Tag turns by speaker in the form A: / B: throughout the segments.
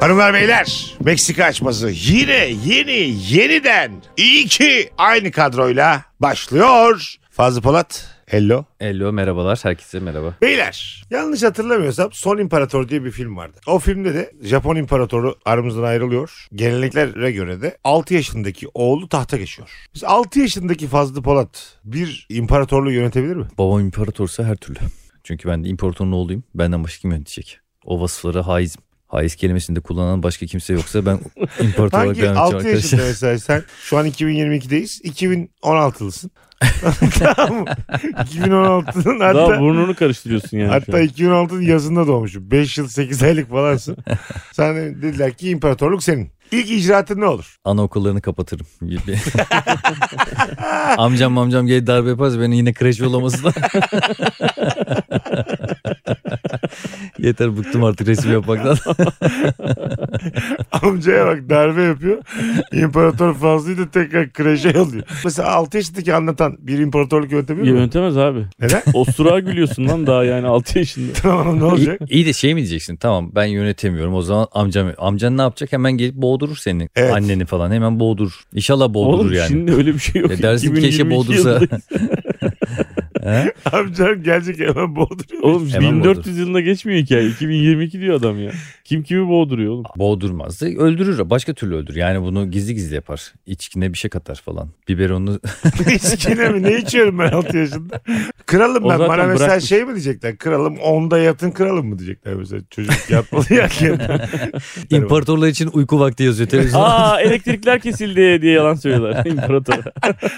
A: Hanımlar beyler Meksika açması yine yeni yeniden iyi ki aynı kadroyla başlıyor. Fazlı Polat hello.
B: Hello merhabalar herkese merhaba.
A: Beyler yanlış hatırlamıyorsam Son İmparator diye bir film vardı. O filmde de Japon İmparatoru aramızdan ayrılıyor. Geleneklere göre de 6 yaşındaki oğlu tahta geçiyor. Biz 6 yaşındaki Fazlı Polat bir imparatorluğu yönetebilir mi?
B: Babam imparatorsa her türlü. Çünkü ben de imparatorun oğluyum. Benden başka kim yönetecek? O vasıfları haizim. Haiz kelimesini de kullanan başka kimse yoksa ben imparator olarak
A: Hangi
B: devam edeceğim
A: 6 yaşında
B: arkadaşlar.
A: mesela sen şu an 2022'deyiz. 2016'lısın. tamam mı? 2016'nın
C: Daha
A: hatta,
C: burnunu karıştırıyorsun yani. şu
A: hatta
C: an.
A: 2016'nın yazında doğmuşum. 5 yıl 8 aylık falansın. Sana dediler ki imparatorluk senin. İlk icraatın ne olur?
B: Anaokullarını kapatırım. Bir- bir- amcam amcam gelip darbe yaparsa beni yine kreş yollamasına. Yeter bıktım artık resim yapmaktan.
A: Amcaya bak darbe yapıyor. İmparator Fazlı'yı da tekrar kreşe yolluyor. Mesela 6 yaşındaki anlatan bir imparatorluk yönetemiyor mu?
C: Yönetemez abi.
A: Neden?
C: Osturağa gülüyorsun lan daha yani 6 yaşında.
A: tamam ne
B: iyi,
A: olacak?
B: iyi de şey mi diyeceksin? Tamam ben yönetemiyorum. O zaman amcam amcan ne yapacak? Hemen gelip boğdurur seni.
A: Evet.
B: Anneni falan hemen boğdurur. İnşallah boğdurur
C: Oğlum
B: yani.
C: şimdi öyle bir şey yok.
B: Ya dersin ki
C: 2022
B: keşke boğdursa.
C: yılındayız.
A: Amcam gelecek hemen boğduruyor.
C: Oğlum
B: Hemen
C: 1400 yılında geçmiyor hikaye. 2022 diyor adam ya. Kim kimi boğduruyor oğlum.
B: Boğdurmaz da öldürür. Başka türlü öldürür. Yani bunu gizli gizli yapar. İçkine bir şey katar falan. Biberonu
A: İçkine mi? Ne içiyorum ben 6 yaşında? Kralım
C: O
A: ben. Bana
C: zaten
A: mesela
C: bırakmış.
A: şey mi diyecekler? Kralım onda yatın kralım mı diyecekler mesela. Çocuk yatmalı ya kendine.
B: imparatorlar için uyku vakti yazıyor televizyonda.
C: Aa elektrikler kesildi diye yalan söylüyorlar imparatora.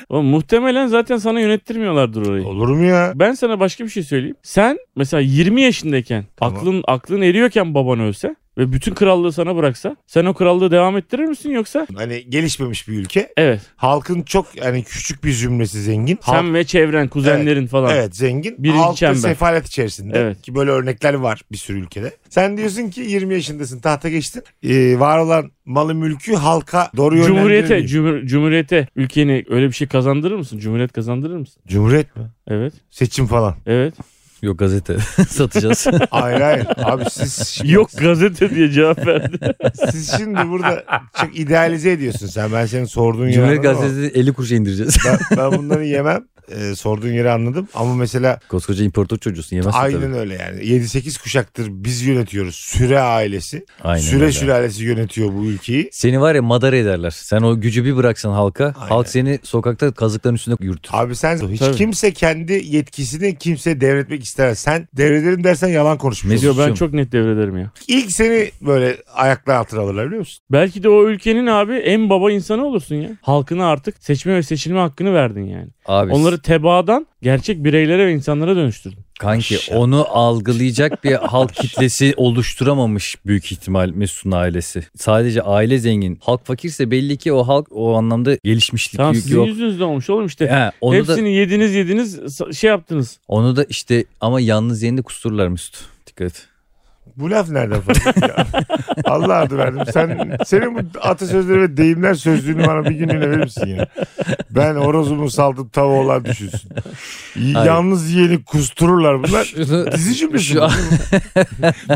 C: Oğlum muhtemelen zaten sana yönettirmiyorlardır orayı.
A: Olur mu ya?
C: Ben sana başka bir şey söyleyeyim. Sen mesela 20 yaşındayken
A: Tamam.
C: aklın aklın eriyorken baban ölse ve bütün krallığı sana bıraksa sen o krallığı devam ettirir misin yoksa?
A: Hani gelişmemiş bir ülke.
C: Evet.
A: Halkın çok yani küçük bir zümresi zengin. Halk-
C: Sen ve çevren, kuzenlerin falan.
A: Evet zengin.
C: Birinci
A: Halk da
C: çember.
A: sefalet içerisinde.
C: Evet.
A: Ki böyle örnekler var bir sürü ülkede. Sen diyorsun ki 20 yaşındasın tahta geçtin. Ee, var olan malı mülkü halka doğru
C: Cumhuriyete,
A: yönlendirilmiyor.
C: cumhur, cumhuriyete ülkeni öyle bir şey kazandırır mısın? Cumhuriyet kazandırır mısın?
A: Cumhuriyet mi?
C: Evet.
A: Seçim falan.
C: Evet.
B: Yok gazete satacağız.
A: Hayır hayır. Abi siz
C: Yok gazete diye cevap verdi.
A: Siz şimdi burada çok idealize ediyorsun sen. Ben senin sorduğun yeri
B: Cumhuriyet
A: anladım ama
B: gazetesi 50 kuruşa indireceğiz.
A: Ben, ben bunları yemem. Ee, sorduğun yeri anladım. Ama mesela
B: Koskoca imparator çocuğusun yemezsin
A: aynen
B: tabii.
A: öyle yani. 7-8 kuşaktır biz yönetiyoruz. Süre ailesi.
B: Aynen
A: süre
B: öyle.
A: sülalesi yönetiyor bu ülkeyi.
B: Seni var ya madara ederler. Sen o gücü bir bıraksan halka,
A: Aynen.
B: halk seni sokakta kazıkların üstünde yürütür.
A: Abi sen hiç
C: Tabii.
A: kimse kendi yetkisini kimseye devretmek istemez. Sen devrederim dersen yalan konuşmuş
B: Mesut-
A: olursun.
C: Yo, ben çok net devrederim ya.
A: İlk seni böyle ayaklar altına alırlar biliyor musun?
C: Belki de o ülkenin abi en baba insanı olursun ya. Halkına artık seçme ve seçilme hakkını verdin yani.
B: Abi
C: Onları tebaadan gerçek bireylere ve insanlara dönüştürdün.
B: kanki onu algılayacak bir halk kitlesi oluşturamamış büyük ihtimal Mesut'un ailesi. Sadece aile zengin. Halk fakirse belli ki o halk o anlamda gelişmişlik
C: Tamam
B: yok.
C: sizin yüzünüzden olmuş oğlum işte.
B: He, onu da
C: Hepsini yediniz yediniz sa- şey yaptınız.
B: onu da işte ama yalnız yerinde kustururlar Mesut. Dikkat et.
A: Bu laf nereden fazla ya? Allah adı verdim. Sen, senin bu atasözleri ve deyimler sözlüğünü bana bir günlüğüne verir misin ya? Ben horozumu saldım tava olan düşünsün. Y-
B: Hayır.
A: Yalnız yiyeni kustururlar bunlar.
B: Şunu-
A: Dizi cümlesi.
B: Şu
A: bu.
B: an-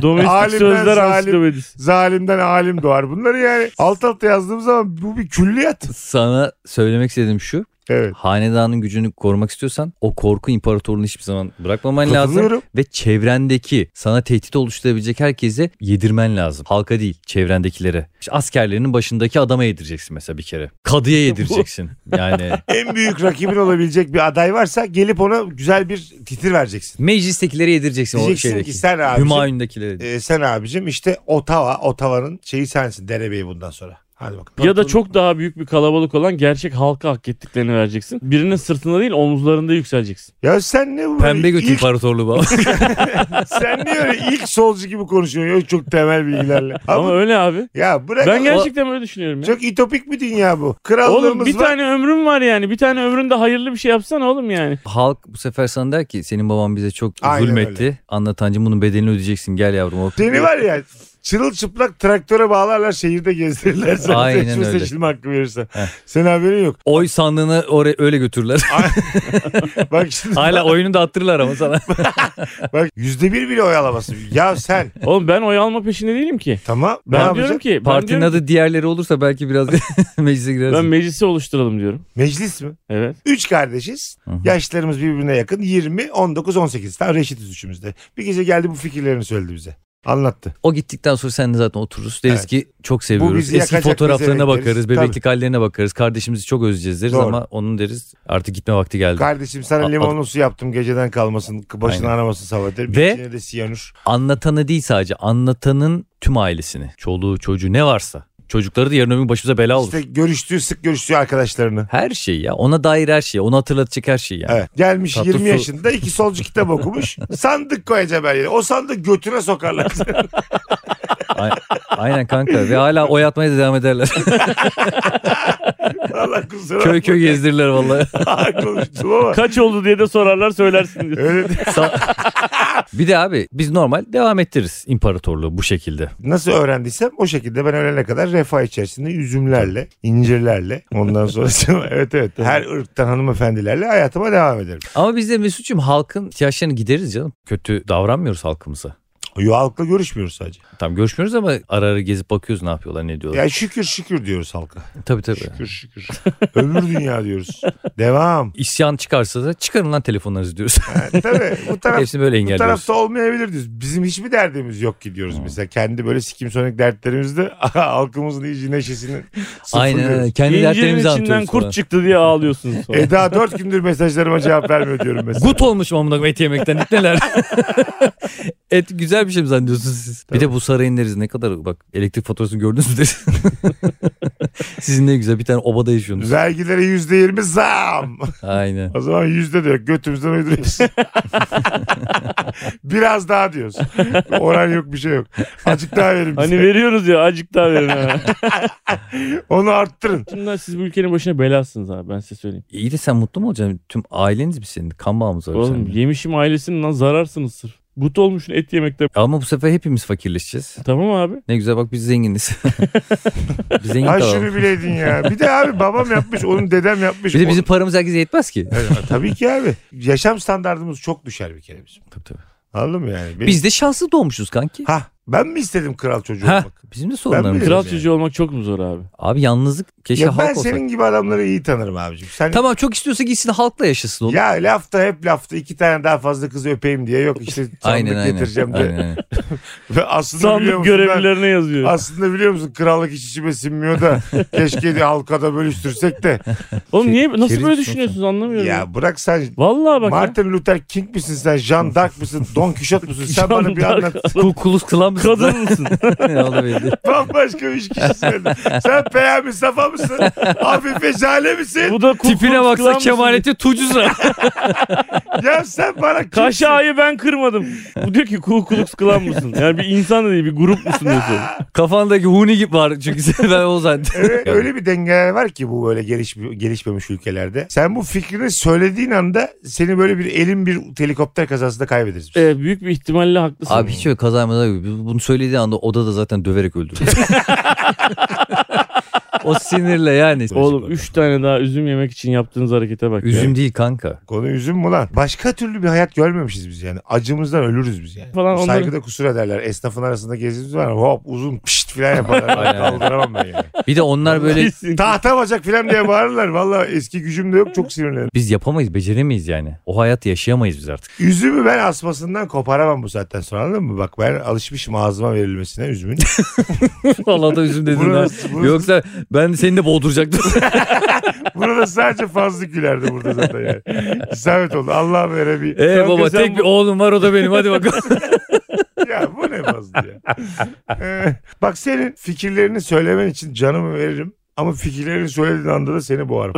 C: Domestik
A: Alimden
C: sözler
A: zalim.
C: ansiklopedisi.
A: Zalimden alim doğar. Bunları yani alt alta yazdığım zaman bu bir külliyat.
B: sana söylemek istediğim şu.
A: Evet.
B: Hanedanın gücünü korumak istiyorsan o korku imparatorluğunu hiçbir zaman bırakmaman lazım.
A: Katılıyorum.
B: ve çevrendeki sana tehdit oluşturabilecek herkese yedirmen lazım. Halka değil, çevrendekilere. İşte askerlerinin başındaki adama yedireceksin mesela bir kere. Kadıya yedireceksin. Yani
A: En büyük rakibin olabilecek bir aday varsa gelip ona güzel bir titir vereceksin.
B: meclistekilere yedireceksin o
A: Diyeceksin
B: şeydeki.
A: ki sen abicim,
B: Hümayun'dakilere.
A: e, sen abicim işte Ottawa, Ottawa'nın şeyi sensin derebeyi bundan sonra. Hadi bakalım.
C: Ya da çok daha büyük bir kalabalık olan gerçek halka hak ettiklerini vereceksin. Birinin sırtında değil omuzlarında yükseleceksin.
A: Ya sen ne bu?
B: Pembe
A: E, böyle
B: götü
A: ilk-
B: imparatorluğu baba.
A: Sen niye öyle ilk solcu gibi konuşuyorsun? Yok çok temel bilgilerle. Ama,
C: Ama öyle abi.
A: ya bırak.
C: Ben gerçekten böyle düşünüyorum ya.
A: Çok ütopik bir dünya bu. Krallığımız
C: Oğlum bir
A: var.
C: tane ömrüm var yani. Bir tane ömründe hayırlı bir şey yapsana oğlum yani.
B: Halk bu sefer sana der ki senin baban bize çok
A: Aynen
B: zulmetti. Anlatancım bunun bedelini ödeyeceksin gel yavrum. O
A: Seni var ya Çırılçıplak traktöre bağlarlar şehirde gezdirirler. Sen
B: Aynen
A: seçme
B: öyle.
A: seçilme hakkı verirsen.
B: Heh.
A: Senin haberin yok.
B: Oy sandığını oraya öyle götürürler.
A: Bak şimdi
B: Hala oyunu da attırırlar ama sana.
A: bak yüzde bir bile oy alamazsın. Ya sen
C: Oğlum ben oy alma peşinde değilim ki.
A: tamam. ne
C: Ben diyorum
A: yapacaksın?
C: ki ben,
B: Partinin
C: diyorum,
B: adı diğerleri olursa belki biraz meclise girersin.
C: ben meclisi oluşturalım diyorum.
A: Meclis mi?
C: Evet.
A: Üç kardeşiz.
B: Hı hı.
A: Yaşlarımız birbirine yakın. 20, 19, 18. Tam reşitiz üçümüzde. Bir gece geldi bu fikirlerini söyledi bize. Anlattı.
B: O gittikten sonra sen de zaten otururuz. Deriz
A: Evet.
B: ki çok
A: Bu
B: seviyoruz.
A: bizi
B: Eski
A: yakacak, bizi
B: fotoğraflarına
A: bekleriz.
B: bakarız.
A: Tabii.
B: Bebeklik hallerine bakarız. Kardeşimizi çok özleyeceğiz deriz
A: Doğru.
B: ama onun deriz artık gitme vakti geldi.
A: Kardeşim sana
B: A-
A: limonlu su yaptım geceden kalmasın. Başını
B: Aynen.
A: aramasın sabah derim.
B: Ve-
A: İçine de siyanür.
B: Anlatanı değil sadece anlatanın tüm ailesini. Çoluğu çocuğu ne varsa. Çocukları da yarın öbür gün başımıza bela olur.
A: İşte görüştüğü sık görüştüğü arkadaşlarını.
B: Her şey ya ona dair her şey. Onu hatırlatacak her şey yani.
A: Evet. Gelmiş
B: Tatlı
A: 20
B: su-
A: yaşında iki solcu kitap okumuş. sandık koyacağım her yere. O sandık götüne sokarlar.
B: A- Aynen kanka ve hala oy atmaya da devam ederler.
A: Allah kusura bakma.
B: köy köy gezdirirler vallahi.
A: Ağır konuştum ama.
C: Kaç oldu diye de sorarlar söylersin diyor.
A: Öyle de-
B: Sa- bir de abi biz normal devam ettiririz imparatorluğu bu şekilde.
A: nasıl öğrendiysem o şekilde ben ölene kadar refah içerisinde üzümlerle, incirlerle ondan sonra evet evet her ırktan hanımefendilerle hayatıma devam ederim.
B: Ama biz de Mesut'cum halkın ihtiyaçlarını gideriz canım. Kötü davranmıyoruz halkımıza.
A: Yo halkla görüşmüyoruz sadece.
B: Tam görüşmüyoruz ama ara ara gezip bakıyoruz ne yapıyorlar ne diyorlar.
A: Ya şükür şükür diyoruz halka.
B: tabii tabii.
A: Şükür şükür. Ömür dünya diyoruz. Devam.
B: İsyan çıkarsa da çıkarın lan telefonlarınızı diyoruz.
A: Yani tabii bu taraf
B: Hepsini böyle
A: bu
B: engelliyoruz.
A: tarafta olmayabilir diyoruz. Bizim hiçbir derdimiz yok ki diyoruz mesela. Kendi böyle sikim sonik dertlerimizde halkımızın iyice neşesini
B: Aynen
A: sıfırlıyoruz.
B: öyle. Kendi
C: İncirin
B: dertlerimizi
C: içinden
B: anlatıyoruz
C: kurt
B: falan.
C: çıktı diye ağlıyorsunuz sonra.
A: Eda dört gündür mesajlarıma cevap vermiyor diyorum mesela.
B: Gut olmuşum amına koyayım et yemekten İlk neler. et güzel bir şey mi zannediyorsunuz siz? Bir de bu sarayın deriz ne kadar bak elektrik faturasını gördünüz mü deriz. Sizin ne güzel bir tane obada yaşıyorsunuz.
A: Vergilere yüzde yirmi zam.
B: Aynen.
A: O zaman yüzde de yok. Götümüzden uyduruyoruz. Biraz daha diyoruz. Oran yok bir şey yok. Azıcık daha verin bize.
C: Hani veriyoruz ya azıcık daha verin ha.
A: Onu arttırın.
C: Bunlar siz bu ülkenin başına belasınız abi ben size söyleyeyim.
B: İyi de sen mutlu mu olacaksın? Tüm aileniz mi senin? Kan bağımız var
C: Oğlum
B: seninle.
C: yemişim ailesinin lan zararsınız sırf. But olmuşsun et yemekte.
B: Ama bu sefer hepimiz fakirleşeceğiz.
C: Tamam abi.
B: Ne güzel bak biz zenginiz. biz zengin
A: Ha
B: kalalım.
A: şunu bileydin ya. Bir de abi babam yapmış, onun dedem yapmış.
B: Bir de bizim paramız herkese yetmez ki.
A: Evet, tabii ki abi. Yaşam standartımız çok düşer bir kere bizim.
B: Tabii, tabii.
A: Anladın mı yani? Benim-
B: Biz de şanslı doğmuşuz kanki.
A: Ha ben mi istedim kral çocuğu
B: Ha,
A: olmak?
B: bizim de sorunlarımız.
A: bilirim.
B: var.
C: Kral
A: yani.
C: çocuğu olmak çok mu zor abi?
B: Abi yalnızlık keşke
A: Ya ben
B: halk olsa.
A: senin gibi adamları iyi tanırım abicim. Sen
B: Tamam çok istiyorsa gitsin halkla yaşasın oğlum.
A: ya lafta hep lafta iki tane daha fazla kız öpeyim diye yok işte sandık
B: aynen aynen.
A: getireceğim
B: aynen,
A: de.
B: aynen.
A: Ve aslında biliyor
C: Sandık
A: musun ben-
C: görevlilerine yazıyor.
A: Aslında biliyor musun krallık hiç içime sinmiyor da keşke de halka da bölüştürsek de.
C: Oğlum niye
B: keriz
C: nasıl böyle
B: sonuçta.
C: düşünüyorsunuz anlamıyorum. Ya.
A: Ya bırak sen
C: Vallahi bak. ya.
A: Martin Luther King misin sen? Jean d'Arc mısın? Don Quixote musun? Sen bana bir
C: Jean
A: anlat.
C: d'Arc.
B: Kul kulus kılan mısın?
C: Kadın mısın?
B: Ne oldu belli.
A: Bambaşka bir kişi söyledin. Sen Peyami Safa mısın? Afife Jale misin?
C: Bu da kul
B: Tipine
C: Klux Klan
B: baksa
C: mısın?
B: kemaleti tucuzra.
A: Ya sen bana kimsin?
C: Kaşağı'yı ben kırmadım. Bu diyor ki Ku Klux Klan mısın? Yani bir insan da değil bir grup musun diyor sonra.
B: Kafandaki huni gibi var çünkü sen- ben o zaten.
A: Evet, öyle bir dengeler var ki bu böyle geliş, gelişmemiş ülkelerde. Sen bu fikrini söylediğin anda seni böyle bir elin bir helikopter kazasında kaybederiz. biz.
C: Ee, büyük bir ihtimalle haklısın.
B: Abi hiç öyle kazaymadan yok. Bunu söylediği anda odada zaten döverek öldürdü. o sinirle yani.
C: Oğlum 3 tane daha üzüm yemek için yaptığınız harekete bak. ya.
B: Üzüm değil kanka.
A: Konu üzüm mü lan? Başka türlü bir hayat görmemişiz biz yani. Acımızdan ölürüz biz yani.
C: Falan onları-
A: Saygıda kusur ederler. Esnafın arasında gezimiz var. Hop uzun pişt filan yaparlar.
B: Aynen.
A: Kaldıramam ben yani.
B: Bir de onlar böyle
C: Kesin.
A: Tahta bacak filan diye bağırırlar. Valla eski gücüm de yok çok sinirlenirim.
B: biz yapamayız, beceremeyiz yani. O hayatı yaşayamayız biz artık.
A: Üzümü ben asmasından koparamam bu saatten sonra anladın mı? Bak ben alışmışım ağzıma verilmesine üzümün.
B: Allah da üzüm dedin
A: Bunu
B: ha.
A: nasıl- bunu-
B: Yoksa ben seni de boğduracaktım.
A: Buna da sadece fazla gülerdi burada zaten yani. İsabet oldu. Allah vere bir.
B: Ee
C: Kanka
B: baba
C: sen
B: tek
C: bu-
B: bir oğlum var o da benim hadi bakalım.
A: Ya bu ne fazla ya. Ee, bak senin fikirlerini söylemen için canımı veririm. Ama fikirlerini söylediğin anda da seni boğarım.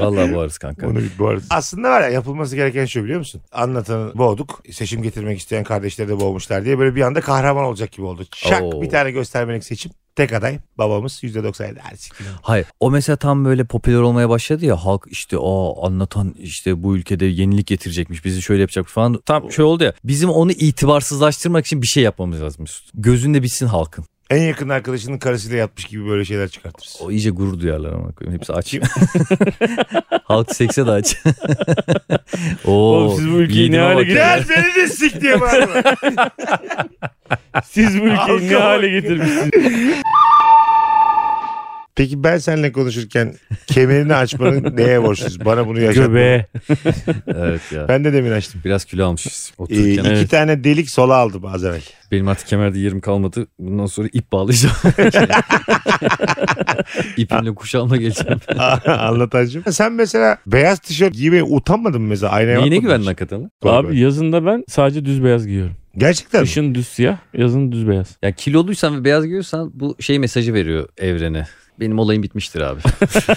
B: Vallahi boğarız kanka.
A: Onu bir boğarız. Aslında var ya yapılması gereken şu biliyor musun? Anlatanı boğduk. Seçim getirmek isteyen kardeşleri de boğmuşlar diye böyle bir anda kahraman olacak gibi oldu. Şak
B: Oo.
A: bir tane göstermelik seçim. Tek aday babamız %97. Ha, siktir.
B: Hayır. O mesela tam böyle popüler olmaya başladı ya halk işte o anlatan işte bu ülkede yenilik getirecekmiş bizi şöyle yapacak falan. Tam şey oldu ya bizim onu itibarsızlaştırmak için bir şey yapmamız lazım Mesut. Gözünde bitsin halkın.
A: En yakın arkadaşının karısıyla yatmış gibi böyle şeyler çıkartırız.
B: O iyice gurur duyarlar ama hepsi aç. Halk sekse de aç. Oo,
C: Oğlum siz bu ülkeyi ne
B: yiğidime
C: hale
B: bak ya.
A: Gel beni de sik diye bağırma.
C: Siz bu ülkeyi ne
A: Halka
C: hale
A: bak.
C: getirmişsiniz?
A: Peki ben seninle konuşurken kemerini açmanın neye borçluyuz? Bana bunu yaşatma.
C: Göbeğe.
B: Evet ya.
A: Ben de demin açtım.
B: Biraz kilo almışız.
A: Ee,
B: Otururken.
A: iki
C: evet.
A: tane delik sola aldım az evvel.
B: Benim artık kemerde yerim kalmadı. Bundan sonra ip bağlayacağım. İpimle kuşağımla geleceğim.
A: Anlatancım. Sen mesela beyaz tişört giymeye utanmadın mı mesela? Aynaya
B: Neyine
A: bakmadın
B: güvendin
A: hiç?
B: hakikaten lan?
A: Doğru,
C: Abi
A: doğru.
C: yazında ben sadece düz beyaz giyiyorum.
A: Gerçekten mi?
C: Kışın düz siyah, yazın düz beyaz.
B: Ya kiloluysan ve beyaz giyiyorsan bu şey mesajı veriyor evrene. Benim olayım bitmiştir abi.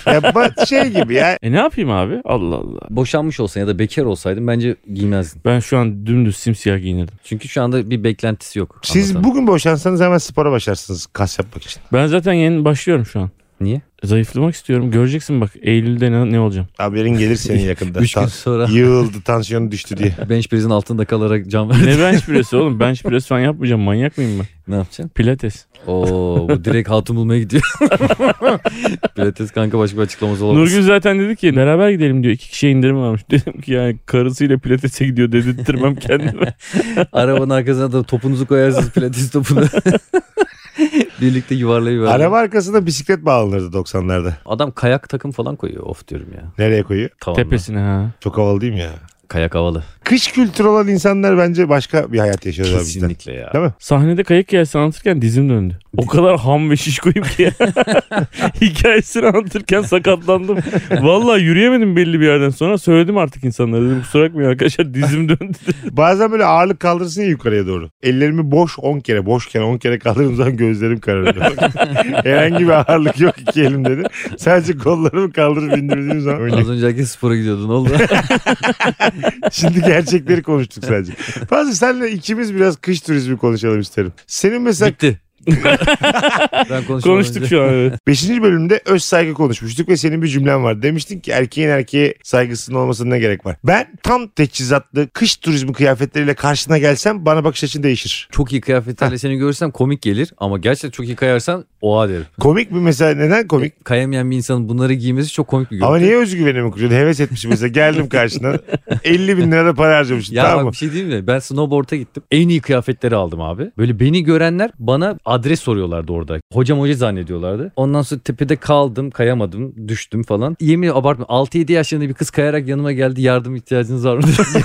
A: Ya ba- şey gibi ya.
C: E ne yapayım abi? Allah Allah.
B: Boşanmış olsan ya da bekar olsaydım bence giymezdin.
C: Ben şu an dümdüz simsiyah giyinirdim.
B: Çünkü şu anda bir beklentisi yok.
A: Siz
B: anlatan.
A: bugün boşansanız hemen spora başlarsınız kas yapmak için.
C: Ben zaten yeni başlıyorum şu an. E,
B: Niye?
C: Zayıflamak istiyorum. Göreceksin bak Eylül'de ne, ne olacağım.
A: Haberin gelir senin yakında.
B: Üç gün
A: Tan-
B: sonra
A: Yığıldı tansiyonu düştü diye.
B: bench press'in altında kalarak can verdi.
C: Ne bench press'i oğlum? Bench press falan yapmayacağım. Manyak mıyım ben?
B: ne yapacaksın?
C: Pilates.
B: Oo bu direkt hatun bulmaya gidiyor. Pilates kanka başka bir açıklaması olamaz.
C: Nurgül zaten dedi ki beraber gidelim diyor. İki kişiye indirim varmış. Dedim ki yani karısıyla pilatese gidiyor dedirttirmem kendime.
B: Arabanın arkasına da topunuzu koyarsınız pilates topunu. Birlikte yuvarlayıver.
A: Araba arkasında bisiklet bağlanırdı 90'larda.
B: Adam kayak takım falan koyuyor of diyorum ya.
A: Nereye koyuyor?
B: Tavanla.
C: Tepesine ha.
A: Çok havalı değil mi ya?
B: Kayak havalı.
A: Kış kültürü olan insanlar bence başka bir hayat yaşıyorlar bizden.
B: Kesinlikle ya.
A: Değil mi?
C: Sahnede kayak hikayesi anlatırken dizim döndü. O kadar ham ve şişkoyum ki. Hikayesini anlatırken sakatlandım. Vallahi yürüyemedim belli bir yerden sonra. Söyledim artık insanlara. Dedim kusura bakmayın arkadaşlar dizim döndü.
A: Bazen böyle ağırlık kaldırsın ya yukarıya doğru. Ellerimi boş 10 kere, boşken 10 kere kaldırdığım zaman gözlerim kararıyor. Herhangi bir ağırlık yok iki elimde de. Sadece kollarımı kaldırıp indirdiğim zaman
B: Az
A: öyle.
B: önce herkes spora gidiyordu ne oldu?
A: Şimdi gerçekleri konuştuk sadece. Fazla senle ikimiz biraz kış turizmi konuşalım isterim. Senin mesela
B: Bitti. ben konuşmadan
C: Konuştuk
B: önce-
C: şu an. evet.
A: 5. bölümde öz saygı konuşmuştuk ve senin bir cümlen var. Demiştin ki erkeğin erkeğe saygısının olmasına ne gerek var? Ben tam teçhizatlı kış turizmi kıyafetleriyle karşına gelsem bana bakış açın değişir.
B: Çok iyi kıyafetlerle seni görürsem komik gelir ama gerçekten çok iyi kayarsan oha derim.
A: Komik mi mesela? Neden komik?
B: Kayamayan bir insanın bunları giymesi çok komik bir görüntü.
A: Ama niye özgüvenimi kuruyorsun? Heves etmişim mesela. Geldim karşına. 50 bin lira da para harcamışım.
B: Ya
A: tamam
B: bak
A: mı?
B: bir şey diyeyim mi? Ben snowboard'a gittim. En iyi kıyafetleri aldım abi. Böyle beni görenler bana adres soruyorlardı orada. Hocam hoca zannediyorlardı. Ondan sonra tepede kaldım, kayamadım, düştüm falan. Yemin abartma 6-7 yaşlarında bir kız kayarak yanıma geldi. Yardım ihtiyacınız var mı? dedi.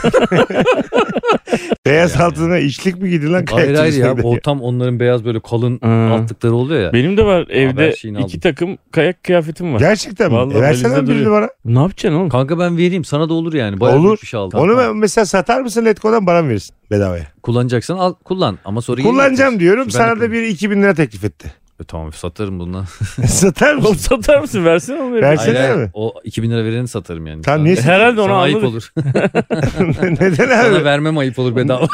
A: Beyaz
B: yani.
A: altına içlik mi giydin lan?
B: hayır
A: kayak
B: hayır ya.
A: turizmine de?
B: O tam onların beyaz böyle kalın
C: Ha.
B: altlıkları oluyor ya.
C: Benim de var evde
B: her şeyini
C: iki
B: aldım.
C: takım kayak kıyafetim var.
A: Gerçekten mi?
C: Vallahi
A: E, versene
C: valizde
A: lan birini
C: duruyor.
A: bana.
C: Ne yapacaksın oğlum?
B: Kanka ben vereyim sana da olur yani. Bayağı
A: Olur.
B: büyük bir şey aldım.
A: Onu ben mesela satar mısın Letgo'dan bana mı verirsin bedavaya?
B: Kullanacaksan al kullan ama sonra geri
A: Kullanacağım
B: getir.
A: diyorum.
B: Ben
A: sana da
B: yapayım.
A: bir 2000 lira teklif etti.
B: E, tamam satarım bundan.
A: Satar
C: Oğlum
A: mısın?
C: satar mısın? Versene onu.
A: Ver.
B: Hayır,
A: Versene
B: hayır.
A: mi?
B: O 2000 lira vereni satarım yani.
A: Tamam,
B: Sana-
A: niye
C: Herhalde onu
B: Sana ayıp
C: anladık.
B: olur.
A: Neden
B: Sana
A: abi?
B: vermem ayıp olur bedava.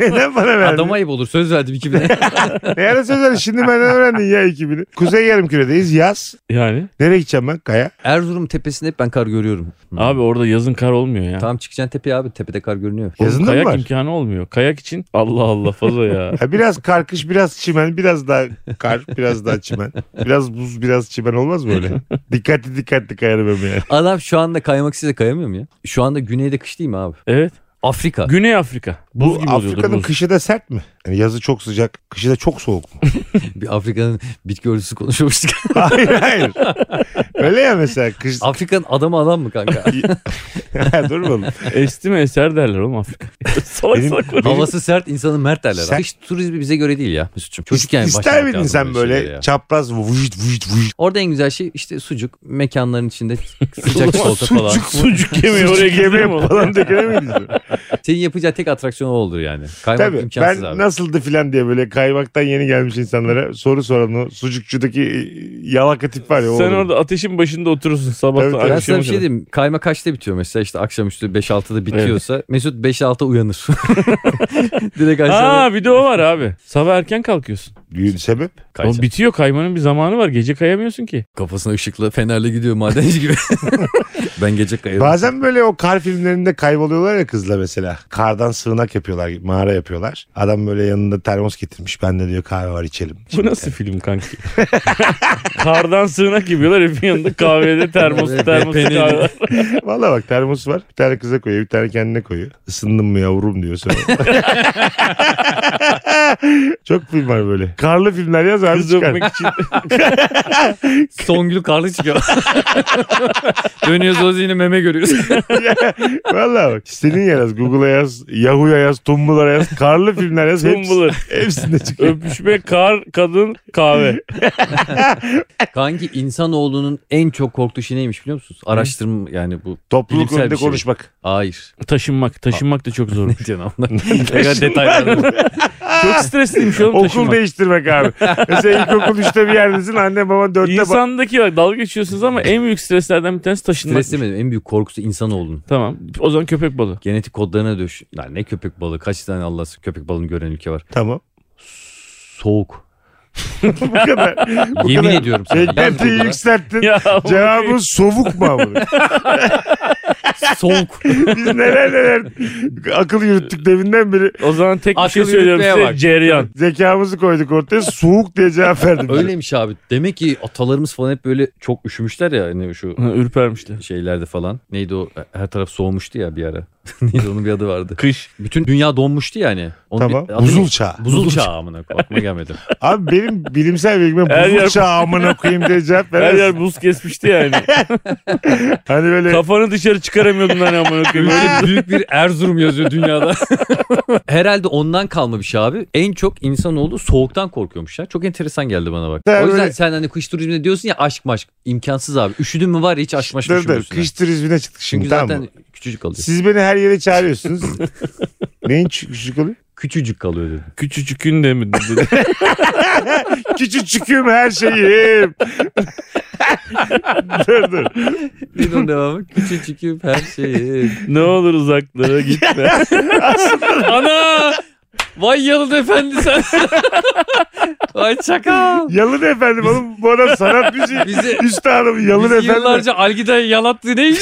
A: Neden bana verdin?
B: Adama ayıp olur. Söz verdim 2000 lira.
A: Ne ara söz verdin? Şimdi benden öğrendin ya 2000'i. Kuzey yarımküredeyiz yaz.
C: Yani.
A: Nereye gideceğim ben? Kaya.
B: Erzurum tepesinde hep ben kar görüyorum.
A: Hmm.
C: Abi orada yazın kar olmuyor ya.
B: Tamam çıkacaksın tepeye abi. Tepede kar görünüyor.
C: Oğlum
A: Yazında mı
C: kayak
A: var?
C: imkanı olmuyor. Kayak için Allah Allah fazla ya.
A: Ha, biraz karkış, biraz çimen, biraz daha kar, biraz daha çimen. Biraz buz, biraz çimen olmaz mı öyle? dikkatli dikkatli kayarım ben yani.
B: Adam şu anda kaymak size kayamıyor mu ya? Şu anda güneyde kış değil mi abi?
C: Evet.
B: Afrika.
C: Güney Afrika. Buz
A: Bu
C: gibi oluyordur
A: Afrika'nın
C: buz.
A: kışı da sert mi? Yani yazı çok sıcak, kışı da çok soğuk mu?
B: Bir Afrika'nın bitki örtüsü konuşmuştuk.
A: hayır hayır. Öyle ya mesela kış...
B: Afrika'nın adamı adam mı kanka?
A: Dur oğlum.
C: Esti mi eser derler oğlum Afrika. Salak
A: Benim-
C: salak konuşuyor.
B: Havası sert insanı mert derler.
A: Sen-
B: abi. Kış turizmi bize göre değil ya Mesut'cum. Çocukken
A: İster
B: başlamak
A: miydin
B: lazım
A: sen
B: şeylere
A: böyle
B: ya.
A: çapraz vujit vujit vujit.
B: Orada en güzel şey işte sucuk. Mekanların içinde sıcak salata falan.
C: Sucuk yemeği oraya
A: Sucuk
C: gidiyor mu?
A: yemeği falan da giremeyiz.
B: Senin yapacağı tek atraksiyon o olur yani. Kaymak
A: Tabii
B: imkansız
A: ben
B: abi.
A: nasıldı filan diye böyle kaymaktan yeni gelmiş insanlara soru soran o sucukçudaki e, yalaka tip var ya. o
C: Sen
A: olur.
C: orada ateşin başında oturursun sabahtan
A: Tabii, tabii.
B: Ben
C: akşama
B: sana bir şey
C: kadar.
B: diyeyim. Kayma kaçta bitiyor mesela işte akşamüstü 5-6'da bitiyorsa Mesut 5-6 uyanır. Direkt aşağıda.
C: Aa bir de o var abi. Sabah erken kalkıyorsun.
A: Düğün sebep.
B: Kayacak.
C: Oğlum bitiyor kaymanın bir zamanı var. Gece kayamıyorsun ki.
B: Kafasına ışıkla fenerle gidiyor madenci gibi. ben gece kayarım.
A: Bazen böyle o kar filmlerinde kayboluyorlar ya kızla mesela. Kardan sığınak yapıyorlar, mağara yapıyorlar. Adam böyle yanında termos getirmiş. Bende diyor kahve var içelim.
C: Bu nasıl film kanki? Kardan sığınak gibiyorlar. Hepin yanında kahvede termos
B: Ve
C: termos
B: peynirli.
C: kahve. var.
A: Valla bak termos var. Bir tane kıza koyuyor, bir tane kendine koyuyor. Isındın mı yavrum diyor sonra. Çok film var böyle. Karlı filmler yaz abi
C: Kız
A: çıkar.
C: öpmek için.
B: Songül karlı çıkıyor. Dönüyoruz yine meme görüyoruz.
A: Valla bak. İstediğin yer yaz. Google'a yaz. Yahoo'ya yaz. Tumblr'a yaz. Karlı filmler yaz. Hepsi,
C: Tumbler.
A: hepsinde çıkıyor.
C: Öpüşme, kar, kadın, kahve.
B: Kanki insanoğlunun en çok korktuğu şey neymiş biliyor musunuz? Araştırma yani bu.
A: Topluluk
B: Bilimsel
A: önünde
B: bir şey.
A: konuşmak.
B: Hayır.
C: Taşınmak. Taşınmak da çok zor.
B: Ne diyorsun abla? Ne kadar detaylı.
C: çok stresliymiş oğlum
A: Okul
C: taşınmak.
A: değiştirmek abi. Mesela ilkokul 3'te bir yerdesin. Anne baba 4'te ba-
C: İnsandaki bak dalga geçiyorsunuz ama en büyük streslerden bir tanesi taşınmak.
B: Stres demedim. En büyük korkusu insanoğlunun.
C: Tamam. O zaman köpek balığı.
B: Genetik kodlarına döş. Lan ne köpek balığı? Kaç tane Allah'sı köpek balığını gören ülke var?
A: Tamam.
B: Soğuk.
A: Bu kadar. Bu
B: Yemin
A: kadar.
B: ediyorum sana.
A: Beklentiyi
B: Yaz
A: yükselttin.
C: Ya
A: Cevabın soğuk mu abi?
B: okulda Soğuk.
A: Biz neler neler akıl yürüttük devinden beri.
C: o zaman tek bir şey
B: Akıl
C: söylüyorum
B: yürütmeye
C: size.
B: bak.
C: Ceryan.
A: Zekamızı koyduk ortaya. Soğuk diye cevap verdim.
B: Öyleymiş abi. Demek ki atalarımız falan hep böyle çok üşümüşler ya hani şu
C: Ha, Ürpermişler.
B: şeylerde falan. Neydi o? Her taraf soğumuştu ya bir ara. Neydi onun bir adı vardı.
C: Kış.
B: Bütün dünya donmuştu yani. Onun
A: Tamam.
B: bir adı
A: Buzul
B: ne?
A: çağı.
B: Buzul çağı amına koyayım. aklıma gelmedi.
A: Abi benim bilimsel bilgime
C: Her
A: buzul
C: yer-
A: çağı amına koyayım diye cevap
C: Her
A: veremezsin.
C: yer buz kesmişti yani.
A: Hani böyle
C: Kafanı dışarı çıkaramıyordun hani amına koyayım. Öyle
B: Böyle büyük bir Erzurum yazıyor dünyada. Herhalde ondan kalma bir şey abi. En çok insanoğlu soğuktan korkuyormuşlar. Çok enteresan geldi bana bak.
A: Ya
B: o yüzden
A: böyle-
B: sen hani kış turizminde diyorsun ya aşk maşk. imkansız abi. Üşüdün mü var ya hiç aşk maşk
A: dur dur
B: düşünmüyorsun.
A: kış turizmine çıktık şimdi
B: Çünkü
A: tamam
B: zaten
A: mı?
B: küçücük kalıyor.
A: Siz beni her yere çağırıyorsunuz. Neyin çü- küçücük oluyor?
B: Küçücük kalıyor dedim.
C: Küçücükün de mi? dedi.
A: Küçücüküm her şeyim. dur dur.
B: Bir de devamı küçücüküm her şeyi.
C: ne olur uzaklara gitme.
B: Ana! Vay yalın efendi sen. Vay çakal.
A: Yalın efendim oğlum bu adam sanat müziği.
B: Bizi-
A: Üstadım yalın
B: Bizi
A: efendim.
B: yıllarca algida yalattı ne iş?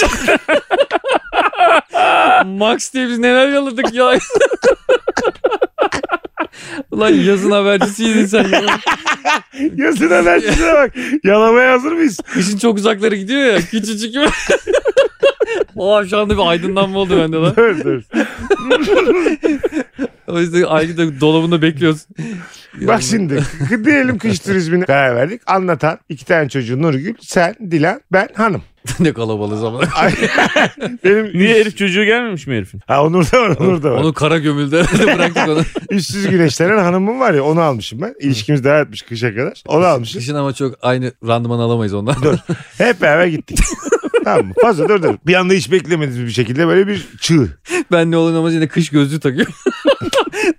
B: Max diye biz neler yaladık ya. Ulan yazın habercisiydin sen. ya.
A: Yazın hemen size bak. Yalamaya hazır mıyız?
B: Kışın çok uzaklara gidiyor ya. Küçücük gibi. Oha şu anda bir aydınlanma oldu bende lan.
A: dur dur.
B: O yüzden algida dolabında bekliyoruz.
A: Bak şimdi k- diyelim kış turizmine karar verdik. Anlatan iki tane çocuğu Nurgül, sen, Dilan, ben hanım.
B: ne kalabalığı zaman.
A: Benim
C: Niye herif çocuğu gelmemiş mi herifin?
A: Ha Onur da var, Onur da var.
B: Onu kara gömüldü herhalde bıraktık onu.
A: Üstsüz güneşlenen hanımım var ya onu almışım ben. İlişkimiz devam etmiş kışa kadar. Onu almışım.
B: Kışın ama çok aynı randıman alamayız ondan.
A: Hep beraber gittik. tamam mı? Fazla dur dur. Bir anda hiç beklemediğimiz bir şekilde böyle bir çığ.
B: ben ne olur amacıyla kış gözlüğü takıyorum.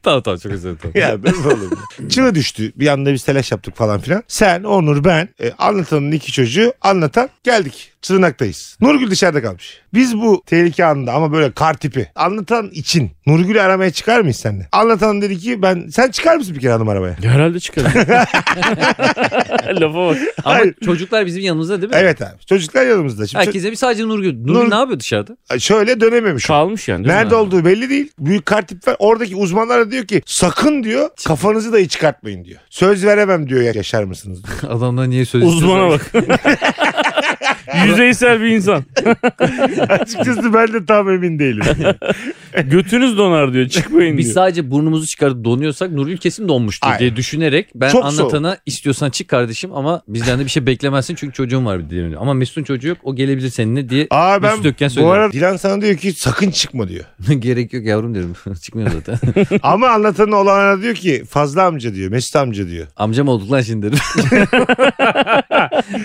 B: tamam tamam çok özür dilerim. Tamam.
A: Ya dur oğlum. Çığ düştü. Bir anda biz telaş yaptık falan filan. Sen, Onur, ben, e, anlatanın iki çocuğu, anlatan geldik. Sığınaktayız. Nurgül dışarıda kalmış. Biz bu tehlike anında ama böyle kar tipi. Anlatan için Nurgül'ü aramaya çıkar mıyız seninle? Anlatan dedi ki ben sen çıkar mısın bir kere hanım arabaya?
C: Herhalde çıkarım. Lafa bak.
B: Ama
A: Hayır.
B: çocuklar bizim yanımızda değil mi?
A: Evet abi. Çocuklar yanımızda. Şimdi
B: Herkese bir sadece Nurgül. Nurgül
A: Nur-
B: ne yapıyor dışarıda?
A: ço- şöyle dönememiş.
C: Kalmış yani. değil mi?
A: Nerede olduğu belli değil. Büyük kar tipi var. Oradaki uzmanlar da diyor ki sakın diyor kafanızı dahi çıkartmayın diyor. Söz veremem diyor ya- yaşar mısınız? diyor.
B: Adamdan niye söz
C: Uzmana bak. Yüzeysel bir insan.
A: Açıkçası ben de tam emin değilim.
C: Götünüz donar diyor. Çıkmayın
B: Biz
C: diyor.
B: sadece burnumuzu çıkarıp donuyorsak Nurgül kesin donmuştur
A: Aynen.
B: diye düşünerek ben
A: Çok
B: anlatana istiyorsan çık kardeşim ama bizden de bir şey beklemezsin çünkü çocuğum var diye. Ama Mesut'un çocuğu yok o gelebilir seninle diye
A: Aa ben
B: Üstü dökken
A: bu
B: söylerim.
A: arada Dilan sana diyor ki sakın çıkma diyor.
B: gerek yok yavrum derim. Çıkmıyor zaten.
A: Ama anlatanın olana diyor ki fazla amca diyor Mesut amca diyor.
B: Amcam olduk lan şimdi derim.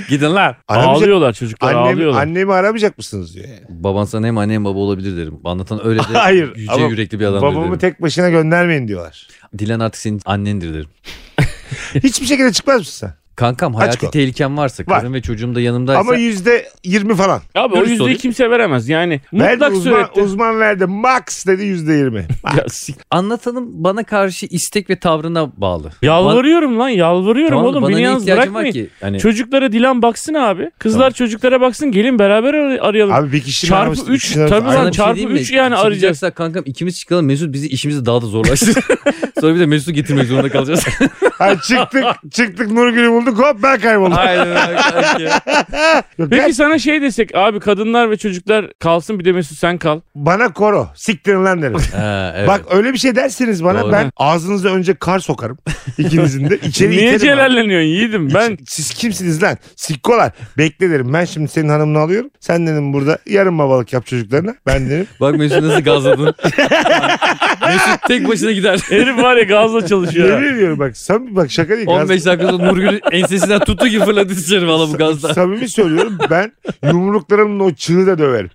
B: Gidin lan.
A: Aramayacak,
C: Ağlıyorlar çocuklar
A: annem,
C: ağlıyorlar.
A: annemi aramayacak mısınız diyor. yani.
B: Baban sana hem anne hem baba olabilir derim. Anlatan öyle de
A: Hayır,
B: yüce
A: ama
B: yürekli bir adam
A: Babamı
B: derim.
A: tek başına göndermeyin diyorlar.
B: Dilan artık senin annendir derim.
A: Hiçbir şekilde çıkmaz mısın sen?
B: Kankam
A: Açık
B: hayati
A: ol.
B: tehlikem varsa,
A: Var.
B: karım ve çocuğum da yanımdaysa
A: Ama yüzde yirmi falan.
C: Abi o
B: Dürüst
C: yüzdeyi
B: olayım.
C: kimse veremez. Yani
A: Verdi
C: mutlak
A: uzman,
C: surette.
A: uzman verdi. Max dedi yüzde yirmi.
C: Ya sik-
B: anlatanın bana karşı istek ve tavrına bağlı.
C: Yalvarıyorum lan
B: Bana-
C: yalvarıyorum
B: tamam,
C: oğlum.
B: bana
C: Beni
B: ne
C: yalnız
B: ihtiyacın var
C: bırakmayın.
B: ki? Hani
C: Çocuklara Dilan baksın abi. Kızlar
B: Tamam.
C: çocuklara baksın gelin beraber ar- arayalım.
A: Abi bir kişinin
C: Çarpı
A: araması-
C: üç,
A: kişinin
C: tabii
A: araması-
C: lan.
B: Sana bir şey
C: çarpı
B: diyeyim mi?
C: üç yani
B: Çıkacaksak
C: arayacağız.
B: kankam ikimiz çıkalım. Mesut bizi işimizi daha da zorlaştırır. Sonra bir de Mesut'u getirmek zorunda kalacağız.
A: Ha, çıktık çıktık Nurgül'ü bulduk hop ben kayboldum.
B: Aynen öyle kanka.
A: Yok, ben-
C: Peki sana şey desek abi kadınlar ve çocuklar kalsın bir de Mesut sen kal.
A: bana koro siktirin lan derim.
B: Ha, evet.
A: Bak öyle bir şey derseniz bana
B: Doğru.
A: ben ağzınıza önce kar sokarım ikinizin de. İçeri
C: Niye
A: iterim abi.
C: celalleniyorsun yiğidim?
A: Ben
C: Ben
A: siz kimsiniz lan? Sikkolar. Bekle derim. Ben şimdi senin hanımını alıyorum. Sen dedim burada yarın babalık yap çocuklarına. Ben dedim.
B: Bak Mesut nasıl gazladın. Mesut tek başına gider.
C: herif var ya gazla çalışıyor. ha.
A: Yemin ediyorum bak. Sam bak şaka değil.
B: 15 dakika sonra Nurgül ensesinden tuttu gibi fırladı dışarı valla bu
A: Gaz-
B: gazda.
A: Samimi söylüyorum ben yumruklarımla o çığı da döverim.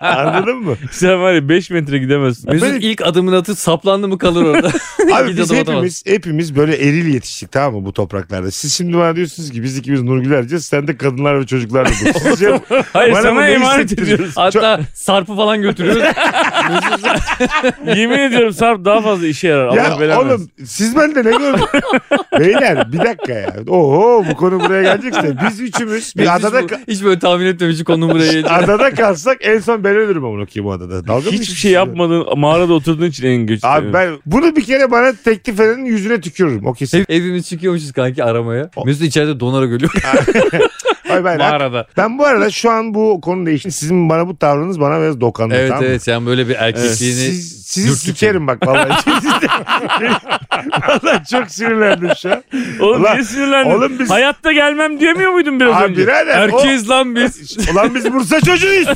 A: Anladın mı?
C: sen var ya 5 metre gidemezsin.
B: Mesut
A: Benim-
B: ilk adımını atıp saplandı mı kalır orada.
A: Abi
B: Gidip
A: biz
B: adım atamaz.
A: hepimiz, hepimiz böyle eril yetiştik tamam mı bu topraklarda. Siz şimdi bana diyorsunuz ki biz ikimiz Nurgül Erciyes sen de kadınlar ve çocuklarla buluşacaksın.
C: Hayır
A: Bana bu
C: sana
A: ne
C: emanet
A: hissettirir?
C: ediyoruz.
B: Hatta sarpı falan götürüyoruz.
C: Yemin ediyorum Sarp daha fazla işe yarar. Allah
A: ya
C: belanı versin.
A: oğlum siz bende ne gördünüz? Beyler bir dakika ya. Oho bu konu buraya gelecekse biz üçümüz bir
B: Biz
A: adada
B: hiç, bu- hiç böyle tahmin etmemişim konum buraya geleceğini.
A: adada kalsak en son ben ölürüm amına koyayım bu adada. Dalga mı
C: Hiçbir
A: geçiyorsun
C: şey
A: ya?
C: yapmadığın mağarada oturduğun için en güçlü.
A: Abi ben bunu bir kere bana teklif edenin yüzüne tükürürüm. O kesin.
B: Ev, evimiz çıkıyormuşuz kanki aramaya.
A: O-
B: Mesut içeride donarak ölüyor
A: Hayır, ben,
B: mağarada.
A: ben bu arada şu an bu konu değişti. Sizin bana bu tavrınız bana biraz dokandı.
B: Evet
A: tamam mı?
B: evet sen böyle bir erkekliğini...
A: Siz, sizi
B: dürtük
A: sikerim bak vallahi. vallahi çok sinirlendim şu an.
C: Oğlum
A: Ulan-
C: niye sinirlendin?
A: Oğlum biz-
C: Hayatta gelmem diyemiyor muydun biraz
A: Abi
C: önce?
A: birader,
C: Erkeğiz lan biz.
A: Ulan biz Bursa çocuğuyuz.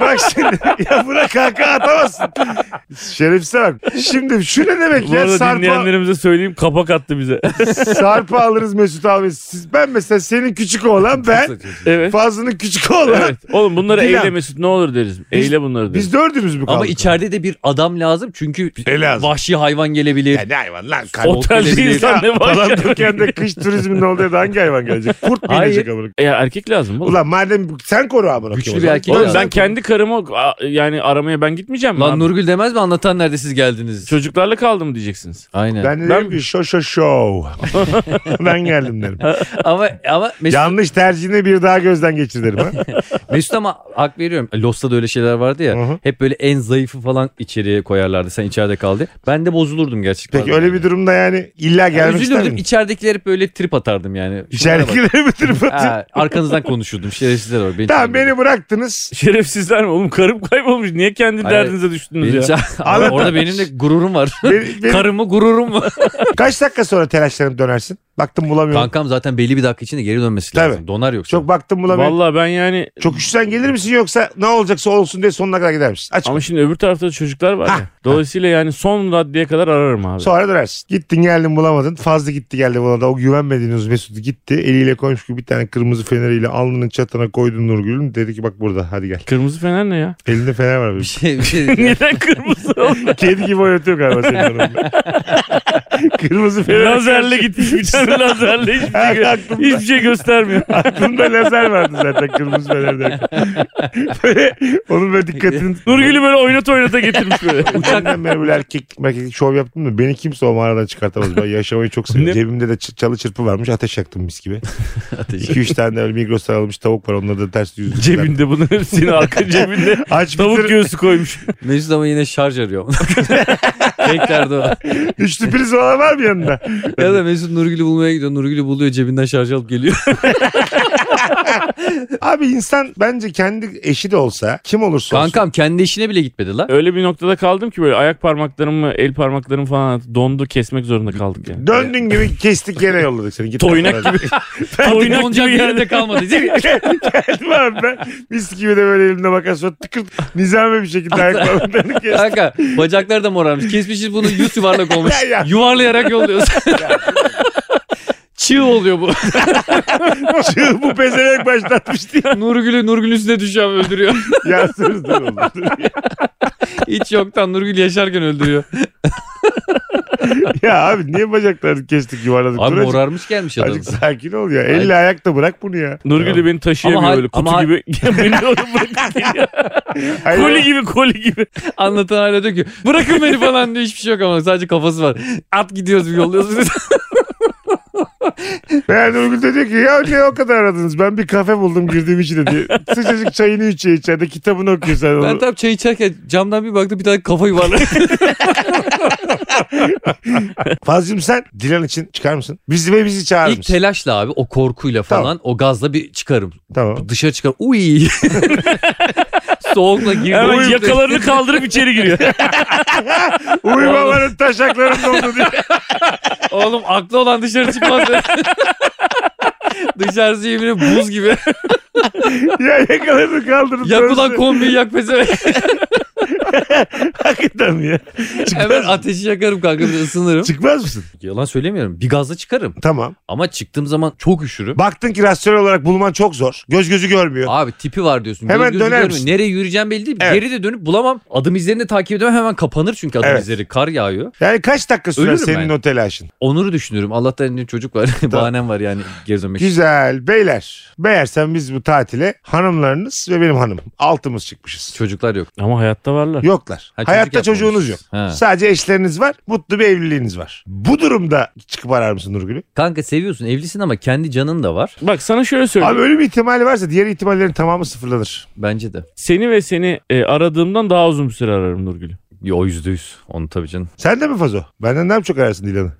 A: bak şimdi ya buna kaka atamazsın. Şerefsize bak. Şimdi şu ne demek
C: Bu
A: ya
C: arada
A: sarpa,
C: dinleyenlerimize söyleyeyim kapak attı bize.
A: sarpa alırız Mesut abi. Siz, ben mesela senin küçük oğlan ben.
C: evet.
A: Fazlının küçük oğlan.
C: evet. Oğlum bunları
A: Dilan.
C: eyle Mesut ne olur deriz. Eyle bunları deriz.
A: Biz dördümüz mü kaldık?
B: Ama içeride de bir adam lazım çünkü
A: E lazım.
B: vahşi hayvan gelebilir.
A: Ya ne hayvan lan?
B: O-
C: Otelci
B: Otele
C: insan ne var
A: Falan
C: ya?
A: dururken de kış turizminin olduğu da hangi hayvan gelecek? Kurt mu
C: Hayır.
A: gelecek amına?
C: Ya erkek lazım oğlum.
A: Ulan madem bu- sen koru amına.
B: Güçlü
A: koyayım o
B: bir
A: zaman.
B: erkek
C: Oğlum
B: ya.
C: ben kendi karımı a- yani aramaya ben gitmeyeceğim mi?
B: Lan
C: abi?
B: Nurgül demez mi anlatan nerede siz geldiniz?
C: Çocuklarla kaldım diyeceksiniz.
B: Aynen.
A: Ben de
C: Ben-
A: derim ki şo şo şov. ben geldim derim.
B: Ama ama Mesut,
A: Yanlış tercihini bir daha gözden geçir derim. Ha?
B: Mesut ama hak veriyorum. Lost'ta da öyle şeyler vardı ya.
A: Hı hı.
B: Hep böyle en zayıfı falan içeriye koyarlardı. Sen içeride kaldı. Ben de bozulurdum gerçekten.
A: Peki öyle bir durumda yani illa
B: yani
A: gelmek ister
B: üzülürdüm.
A: miyim?
B: İçeridekileri hep böyle trip atardım yani. Şunlara bak.
A: İçeridekileri bitirip atayım.
B: Ha, arkanızdan konuşurdum. Şerefsizler var. Beni
A: Tamam
B: çağırmadı.
A: beni bıraktınız.
C: Şerefsizler mi? Oğlum karım kaybolmuş. Niye kendi
B: Hayır.
C: derdinize düştünüz
B: Beni
C: ya?
B: çağır- Ama
A: Anlatan-
B: orada benim de gururum var.
A: Beni- beni-
B: Karımı gururum var.
A: kaç dakika sonra telaşlanıp dönersin? Baktım bulamıyorum.
B: Kankam zaten belli bir dakika içinde geri dönmesi
A: Tabii.
B: lazım. Donar yoksa.
A: Çok baktım bulamıyorum.
C: Vallahi ben yani
A: Çok üşüsen gelir misin yoksa ne olacaksa olsun diye sonuna kadar gider misin? Açık.
C: ama şimdi öbür tarafta da çocuklar var ya. Dolayısıyla yani son raddeye kadar ararım abi.
A: Sonra dönersin. Gittin geldin bulamadın. Fazla gitti geldi bulamadı. O güvenmediğiniz Mesut gitti. Eliyle koymuş gibi bir tane kırmızı feneriyle alnının çatına koydun Nurgül'ün. Dedi ki bak burada hadi gel.
C: Kırmızı fener ne ya?
A: Elinde fener var.
B: Bir
A: Bir
B: şey, bir şey
C: Neden kırmızı oldu?
A: Kedi gibi oynatıyor galiba senin hanımını. Kırmızı fener.
C: lazerle gitmiş bir tane lazerle hiçbir şey,
A: Ha,
C: gö-
A: aklımda.
C: hiçbir şey göstermiyor.
A: Aklımda lazer vardı zaten kırmızı fener derken. Böyle onun böyle dikkatini...
C: Nurgül'ü böyle oynata oynata getirmiş böyle.
A: Uçaktan beri böyle erkek, erkek şov yaptım mı beni kimse o mağaradan çıkartamaz. Ben yaşamayı çok seviyorum.
C: Ne?
A: Cebimde de ç- çalı çırpı varmış ateş yaktım mis gibi.
B: ateşi.
A: 2-3 tane de öyle Migros'tan almış tavuk var onları da ters yüzlü.
C: Cebinde bunun hepsini arka cebinde
A: Aç
C: tavuk
A: bitir.
C: göğsü koymuş.
B: Mesut ama yine şarj arıyor. Beklerde o.
A: Üçlü priz olan var mı yanında?
B: Ya da Mesut Nurgül'ü bulmaya gidiyor. Nurgül'ü buluyor cebinden şarj alıp geliyor.
A: Abi insan bence kendi eşi de olsa kim olursa olsun.
B: Kankam kendi işine bile gitmedi lan.
C: Öyle bir noktada kaldım ki böyle ayak parmaklarımı, el parmaklarımı falan dondu kesmek zorunda kaldık yani.
A: Döndün gibi kestik yere yolladık seni. Git
C: Toynak
A: gibi.
C: Oynak gibi
B: Oyuncak bir
C: geldi.
B: yerde kalmadı.
A: Geldim abi ben. Mis gibi de böyle elimde makas var. Tıkır nizame bir şekilde ayak parmaklarını kestim.
B: Kanka bacakları da morarmış. Kesmişiz bunu yüz yuvarlak olmuş.
A: Ya, ya.
B: Yuvarlayarak yolluyoruz. Çığ oluyor bu.
A: Çığ bu pezevenk başlatmış diye.
B: Nurgül'ü Nurgül'ün üstüne düşüyor abi, öldürüyor.
A: Ya dur dur oğlum. dur.
B: Hiç yoktan Nurgül yaşarken öldürüyor.
A: ya abi niye bacaklarını kestik yuvarladık?
B: Abi
A: Dur azıcık-
B: morarmış gelmiş adam.
A: Azıcık sakin ol ya. Elle ayakta bırak bunu ya.
C: Nurgül de beni taşıyamıyor
B: Ama hal-
C: öyle kutu
B: ama hal-
C: gibi. beni de oraya bırakıp geliyor.
A: Hayır,
C: koli gibi koli gibi.
B: Anlatan hala diyor ki bırakın beni falan diyor hiçbir şey yok ama sadece kafası var. At gidiyoruz bir yolluyoruz. biz.
A: Meğer Nurgül de diyor ki ya ne o kadar aradınız. Ben bir kafe buldum girdiğim için dedi. Sıcacık çayını içiyor içeride kitabını okuyor sen.
B: ben
A: onu.
B: tam çay içerken camdan bir baktım bir tane kafa yuvarladı.
A: Fazlım sen Dilan için çıkar mısın? Bizi ve bizi çağırır
B: İlk
A: mısın?
B: telaşla abi o korkuyla falan o gazla bir çıkarım.
A: tamam.
B: Dışarı çıkar. Uy. Soğukla girdim.
C: Hemen yakalarını kaldırıp içeri giriyor.
A: Uyumamanın taşaklarım doldu diyor.
B: Oğlum aklı olan dışarı çıkmaz. Dışarısı yemin ederim buz gibi.
A: ya yakalarını kaldırın.
B: Yak ulan
A: dönsün.
B: kombiyi yak peze.
A: Hakikaten ya. Çıkmaz,
B: Hemen ateşi yakarım kanka bir de ısınırım.
A: çıkmaz mısın?
B: Yalan söylemiyorum. Bir gazla çıkarım.
A: Tamam.
B: Ama çıktığım zaman çok üşürüm.
A: Baktın ki rasyonel olarak bulman çok zor. Göz gözü görmüyor.
B: Abi tipi var diyorsun.
A: Hemen
B: Hemen gözü
A: döner
B: görmüyor.
A: misin?
B: Nereye yürüyeceğim belli değil.
A: Evet.
B: Geri de dönüp bulamam. Adım izlerini de takip edemem. Hemen kapanır çünkü adım
A: Evet.
B: izleri. Kar yağıyor.
A: Yani kaç dakika sürer
B: Ölürüm
A: senin
B: ben.
A: o telaşın?
B: Onur'u düşünüyorum. Allah'tan elinde çocuk var. Bahanem var yani geri dönmek için.
A: Güzel beyler. Meğersem biz bu tatile hanımlarınız ve benim hanım altımız çıkmışız.
B: Çocuklar yok.
C: Ama hayatta varlar.
A: Yoklar.
B: Ha, çocuk
A: Hayatta
B: yapmamışız.
A: çocuğunuz yok.
B: Ha.
A: Sadece eşleriniz var. Mutlu bir evliliğiniz var. Bu durumda çıkıp arar mısın Nurgül'ü?
B: Kanka seviyorsun evlisin ama kendi canın da var.
C: Bak sana şöyle söyleyeyim.
A: Abi ölüm ihtimali varsa diğer ihtimallerin tamamı sıfırlanır.
B: Bence de.
C: Seni ve seni e, aradığımdan daha uzun bir süre ararım Nurgül'ü.
B: Yo yüzde yüz. Onu tabii canım.
A: Sen de mi Fazo? Benden daha mı çok ararsın Dilan'ı?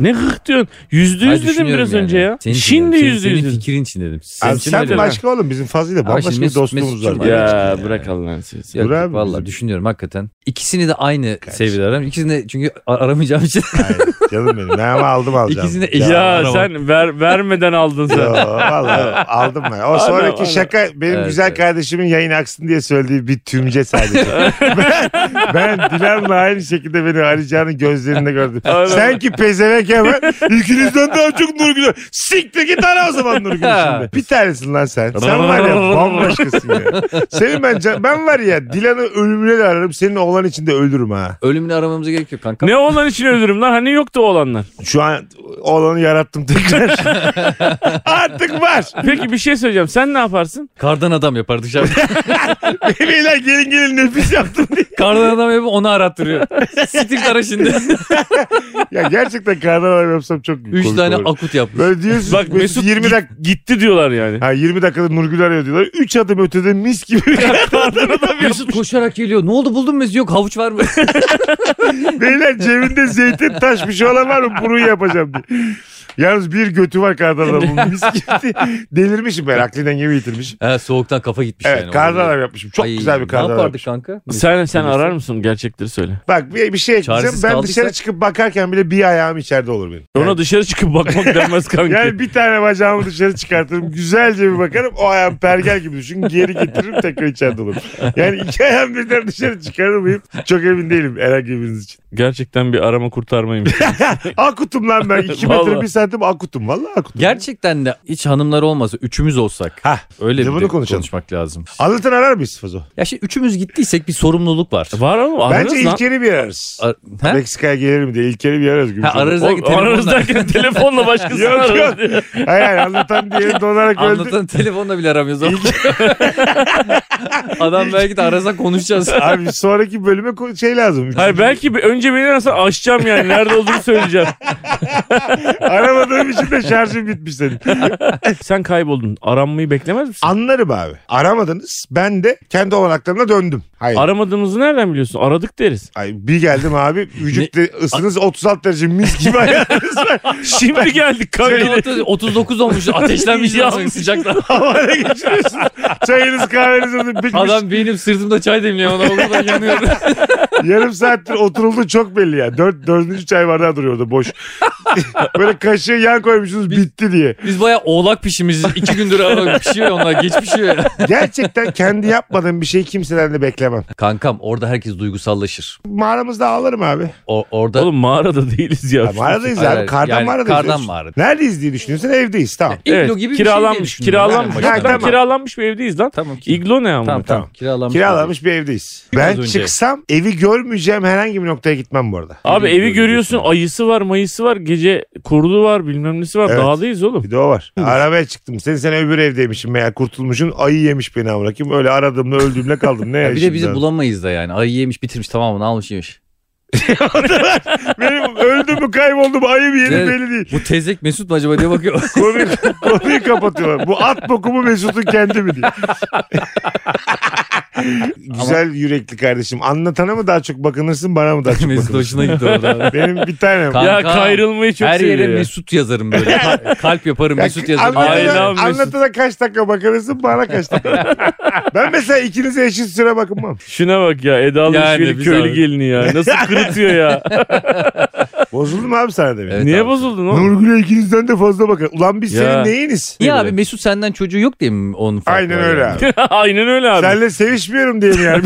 C: Ne hıh diyorsun? Yüzde
B: Hayır,
C: yüz dedim
B: düşünüyorum
C: biraz
B: yani.
C: önce ya.
B: Senin için
C: Şimdi
B: dedim.
C: yüzde
B: senin,
C: yüz.
B: Senin
C: dedim.
B: fikrin için dedim. Senin
A: Abi
B: için
A: sen
B: öyle-
A: başka oğlum bizim Fazlı'yla
B: Ama
A: bambaşka
B: şimdi
A: bir
B: Mesut-
A: dostluğumuz var.
B: Mesut'cum
A: Ya.
B: var.
C: Ya
B: Yani.
C: bırak Allah'ın sizi.
B: Yok,
A: Burak
B: yok,
A: mı
B: valla
A: bizim?
B: düşünüyorum hakikaten. İkisini de aynı
A: Kardeşim.
B: seviyede ararım. İkisini de çünkü a- aramayacağım için.
A: Hayır, canım benim. Ben ama aldım alacağım.
B: İkisini de-
A: Ya.
C: Ya
B: Arama.
C: sen ver, vermeden aldın sen.
A: Yo, vallahi aldım ben. O
C: Adam,
A: sonraki
C: adam.
A: şaka benim
B: Evet,
A: güzel
B: evet.
A: kardeşimin yayın aksın diye söylediği bir tümce sadece. ben, ben Dilan'la aynı şekilde beni arayacağını gözlerinde gördüm.
C: Aynen.
A: Sen ki pezevenk hemen ikinizden daha çok Nurgül'ü. Siktir git ara o zaman Nurgül'ü şimdi. Bir tanesin lan sen. Sen var ya bambaşkasın ya. Senin ben, can- ben var ya Dilan'ı ölümüne de ararım. Senin oğlan için de öldürürüm ha.
B: Ölümünü aramamıza gerek yok kanka.
C: Ne olan için ölürüm lan? Hani yoktu olanlar.
A: Şu an oğlanı yarattım tekrar. Artık var.
C: Peki bir şey söyleyeceğim. Sen ne yaparsın?
B: Kardan adam yapar dışarıda.
A: Beyler gelin gelin nefis yaptım diye.
B: Kardan adam yapıp onu arattırıyor. Stik ara şimdi.
A: Ya gerçekten kardan adam yapsam çok
B: Üç
A: komik
B: tane
A: olur.
B: akut yapmış.
A: Böyle diyorsun
C: Bak Mesut
A: 20
C: git-
A: dakika
C: gitti diyorlar yani.
A: Ha 20 dakikada Nurgül arıyor diyorlar. 3 adım ötede mis gibi bir kardan adam yapmış.
B: Mesut koşarak geliyor. Ne oldu buldun mu? Yok havuç var mı?
A: Beyler cebinde zeytin taş bir şey olan var mı? Bunu yapacağım diye. Yalnız bir götü var kardan adamın mis gibi diye. Delirmişim ben aklından dengemi yitirmişim.
B: He, soğuktan kafa gitmiş
A: Evet
B: yani.
A: kardan
B: Orada.
A: adam yapmışım. Çok
B: şey Ay,
A: güzel bir kardan
B: Ne
A: adam
B: yapardık
A: yapmışım.
B: kanka?
C: Sen sen arar mısın? Gerçekleri söyle.
A: Bak bir, bir şey ekleyeceğim.
B: Çaresiz
A: Ben
B: kaldıysak-
A: dışarı çıkıp bakarken bile bir ayağım içeride olur benim. Yani-
C: Ona dışarı çıkıp bakmak denmez kanka.
A: Yani bir tane bacağımı dışarı çıkartırım. Güzelce bir bakarım. O ayağım pergel gibi düşün. Geri getiririm tekrar içeride olurum. Yani iki ayağım birden dışarı çıkarır mıyım? Çok emin değilim herhangi biriniz için.
C: Gerçekten bir arama kurtarmaymış.
A: Akutum lan ben. iki metre
C: Vallahi.
A: bir santim akutum. Vallahi akutum.
B: Gerçekten de hiç hanımlar olmasa üçümüz olsak.
A: Hah.
B: Öyle
A: Bir de
B: bir
A: bunu
B: de
A: konuşalım.
B: konuşmak lazım.
A: Anlatan arar mıyız Fazo?
B: Ya şimdi üçümüz gittiysek bir sorumluluk var.
C: Var oğlum ararız
A: Bence
C: lan.
A: ilkeri bir ararız.
B: Ar- He?
A: Meksika'ya gelirim diye ilkeri bir ararız. Gibi
B: Ha, ararız derken
C: O, ararız
B: telefonla.
C: derken telefonla başkasını
A: Yok, yok.
C: ararız. diyor.
A: Hayır hayır, anlatan diye donarak öldü.
B: Anlatan telefonla bile aramıyoruz. ama. Adam belki de arasa konuşacağız.
A: Abi sonraki bölüme ko- şey lazım.
C: Hayır belki bir, önce beni ararsan açacağım yani. Nerede olduğunu söyleyeceğim.
A: Aramadığım için de şarjım bitmiş senin.
C: sen kayboldun. Aranmayı beklemez misin?
A: Anlarım abi. Aramadınız. Ben de kendi olanaklarına döndüm. Hayır.
C: Aramadığımızı nereden biliyorsun? Aradık deriz.
A: Ay bir geldim abi vücut de- ısınız 36 derece mis gibi ayağınız var.
C: Şimdi geldik
B: Böyle
C: kanka.
B: 30 39 olmuş ateşlenmiş
C: Yanmış.
B: sıcakta.
A: Havaya geçiriyorsunuz. Çayınız kahveniz oldu. bitmiş.
B: Adam benim sırtımda çay demliyor ona o kadar yanıyor.
A: şey- Yarım saattir oturuldu çok belli ya. Dört, dördüncü çay bardağı duruyordu boş. Böyle kaşığı yan koymuşsunuz bitti diye.
B: Biz bayağı oğlak pişmişiz. İki gündür oğlak pişiyor ya onlar geç pişiyor ya.
A: Gerçekten kendi yapmadığım bir şeyi kimseden de beklemem.
B: Kankam orada herkes duygusallaşır.
A: Mağaramızda ağlarım abi.
B: O, orada
C: Oğlum mağarada değiliz ya.
A: Ya mağaradayız
B: Hayır,
A: abi.
B: hayır.
A: Kardan
B: Yani
A: mağaradayız.
B: kardan
A: diyorsun.
B: mağarada.
A: Neredeyiz diye düşünüyorsun evdeyiz tamam.
B: iglo
C: Evet,
B: gibi bir şey diye
C: kiralanmış,
B: düşündüm
C: kiralanmış.
B: ben en
A: Ha,
C: Lan
B: başta.
A: tamam.
C: Kiralanmış bir evdeyiz lan.
B: Tamam ki.
C: İglo ne ama?
B: Tamam tamam. Kiralanmış.
A: Kiralanmış bir evdeyiz.
B: Biraz
A: ben
B: önce.
A: çıksam evi görmeyeceğim herhangi bir noktaya gitmem bu arada.
C: Abi
B: Yürü,
C: evi
B: yürü,
C: görüyorsun ayısı var mayısı var gece kurdu var bilmem nesi var
A: Evet.
C: dağdayız oğlum.
A: Bir de o var. Arabaya çıktım. Sen sen öbür evdeymişim meğer kurtulmuşsun. Ayı yemiş beni amına koyayım. Öyle aradığımda öldüğümde kaldım. Ne
B: Ya
A: ya
B: bir de
A: şey şimdi
B: bizi
A: ben?
B: bulamayız da yani. Ayı yemiş bitirmiş tamamını almış yemiş.
A: Benim öldüm mü kayboldum mu ayı mı yerim
B: Evet.
A: belli değil.
B: Bu tezek Mesut mu acaba diye bakıyor.
A: Konuyu, konuyu kapatıyorlar. Bu at boku mu Mesut'un kendi mi diye. Güzel yürekli kardeşim. Anlatana mı daha çok bakınırsın bana mı daha çok
B: Mesut
A: bakınırsın?
B: hoşuna gitti orada.
A: Benim bir tanem.
B: Kan-
C: Ya
B: Kanka,
C: kayrılmayı çok
B: Her yere
C: seviyor ya.
B: Mesut yazarım böyle. Ka- Kalp yaparım
A: Ya,
B: Mesut yazarım.
C: Aynen
A: Anlatana,
C: abi, Mesut.
A: anlatana kaç dakika bakınırsın bana kaç dakika. ben mesela ikinize eşit süre bakınmam.
C: Şuna bak ya Eda'lı
B: Yani
C: yani,
B: biz
C: köylü
B: abi.
C: gelini ya. Nasıl kırıtıyor ya.
A: Bozuldu mu abi sana demin?
B: Evet
C: Niye
B: abi.
C: bozuldun oğlum?
A: Nurgül'e ikinizden de fazla bakın. Ulan biz
C: Ya.
A: senin neyiniz?
B: Niye abi Mesut senden çocuğu yok diye mi onun farkı
A: Aynen
B: var
A: öyle
B: yani?
A: abi.
C: Aynen öyle abi.
A: Senle sevişmiyorum diye mi yani?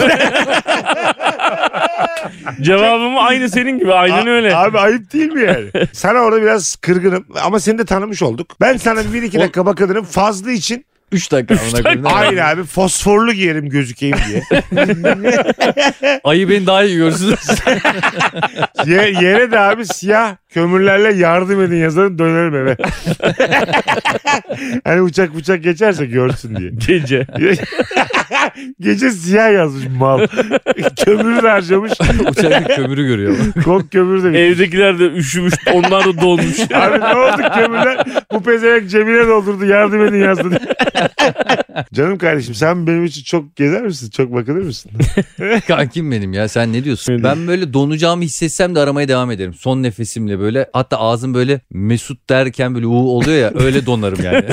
C: Cevabımı aynı senin gibi aynen
A: A-
C: öyle.
A: Abi ayıp değil mi yani? Sana orada biraz kırgınım ama seni de tanımış olduk. Ben sana bir iki dakika bakınırım fazla için.
B: Üç dakika. amına koyayım.
A: Hayır abi fosforlu giyerim gözükeyim diye.
B: Ayı beni daha iyi görsün.
A: Ye- yere de abi siyah kömürlerle yardım edin yazarım dönerim eve. hani uçak uçak geçerse görsün diye.
C: Gece.
A: Gece siyah yazmış mal. Kömürü de harcamış.
B: Uçakta kömürü görüyor.
A: Kok kömürü de bitmiş.
C: Evdekiler de üşümüş. Onlar da donmuş.
A: Abi ne oldu kömürler? Bu pezevenk cebine doldurdu yardım edin yazdı. diye. Canım kardeşim sen benim için çok gezer misin? Çok bakılır mısın?
B: Kankim benim ya sen ne diyorsun?
C: Benim.
B: Ben böyle donacağımı hissetsem de aramaya devam ederim. Son nefesimle böyle hatta ağzım böyle Mesut derken böyle uuu oluyor ya öyle donarım yani.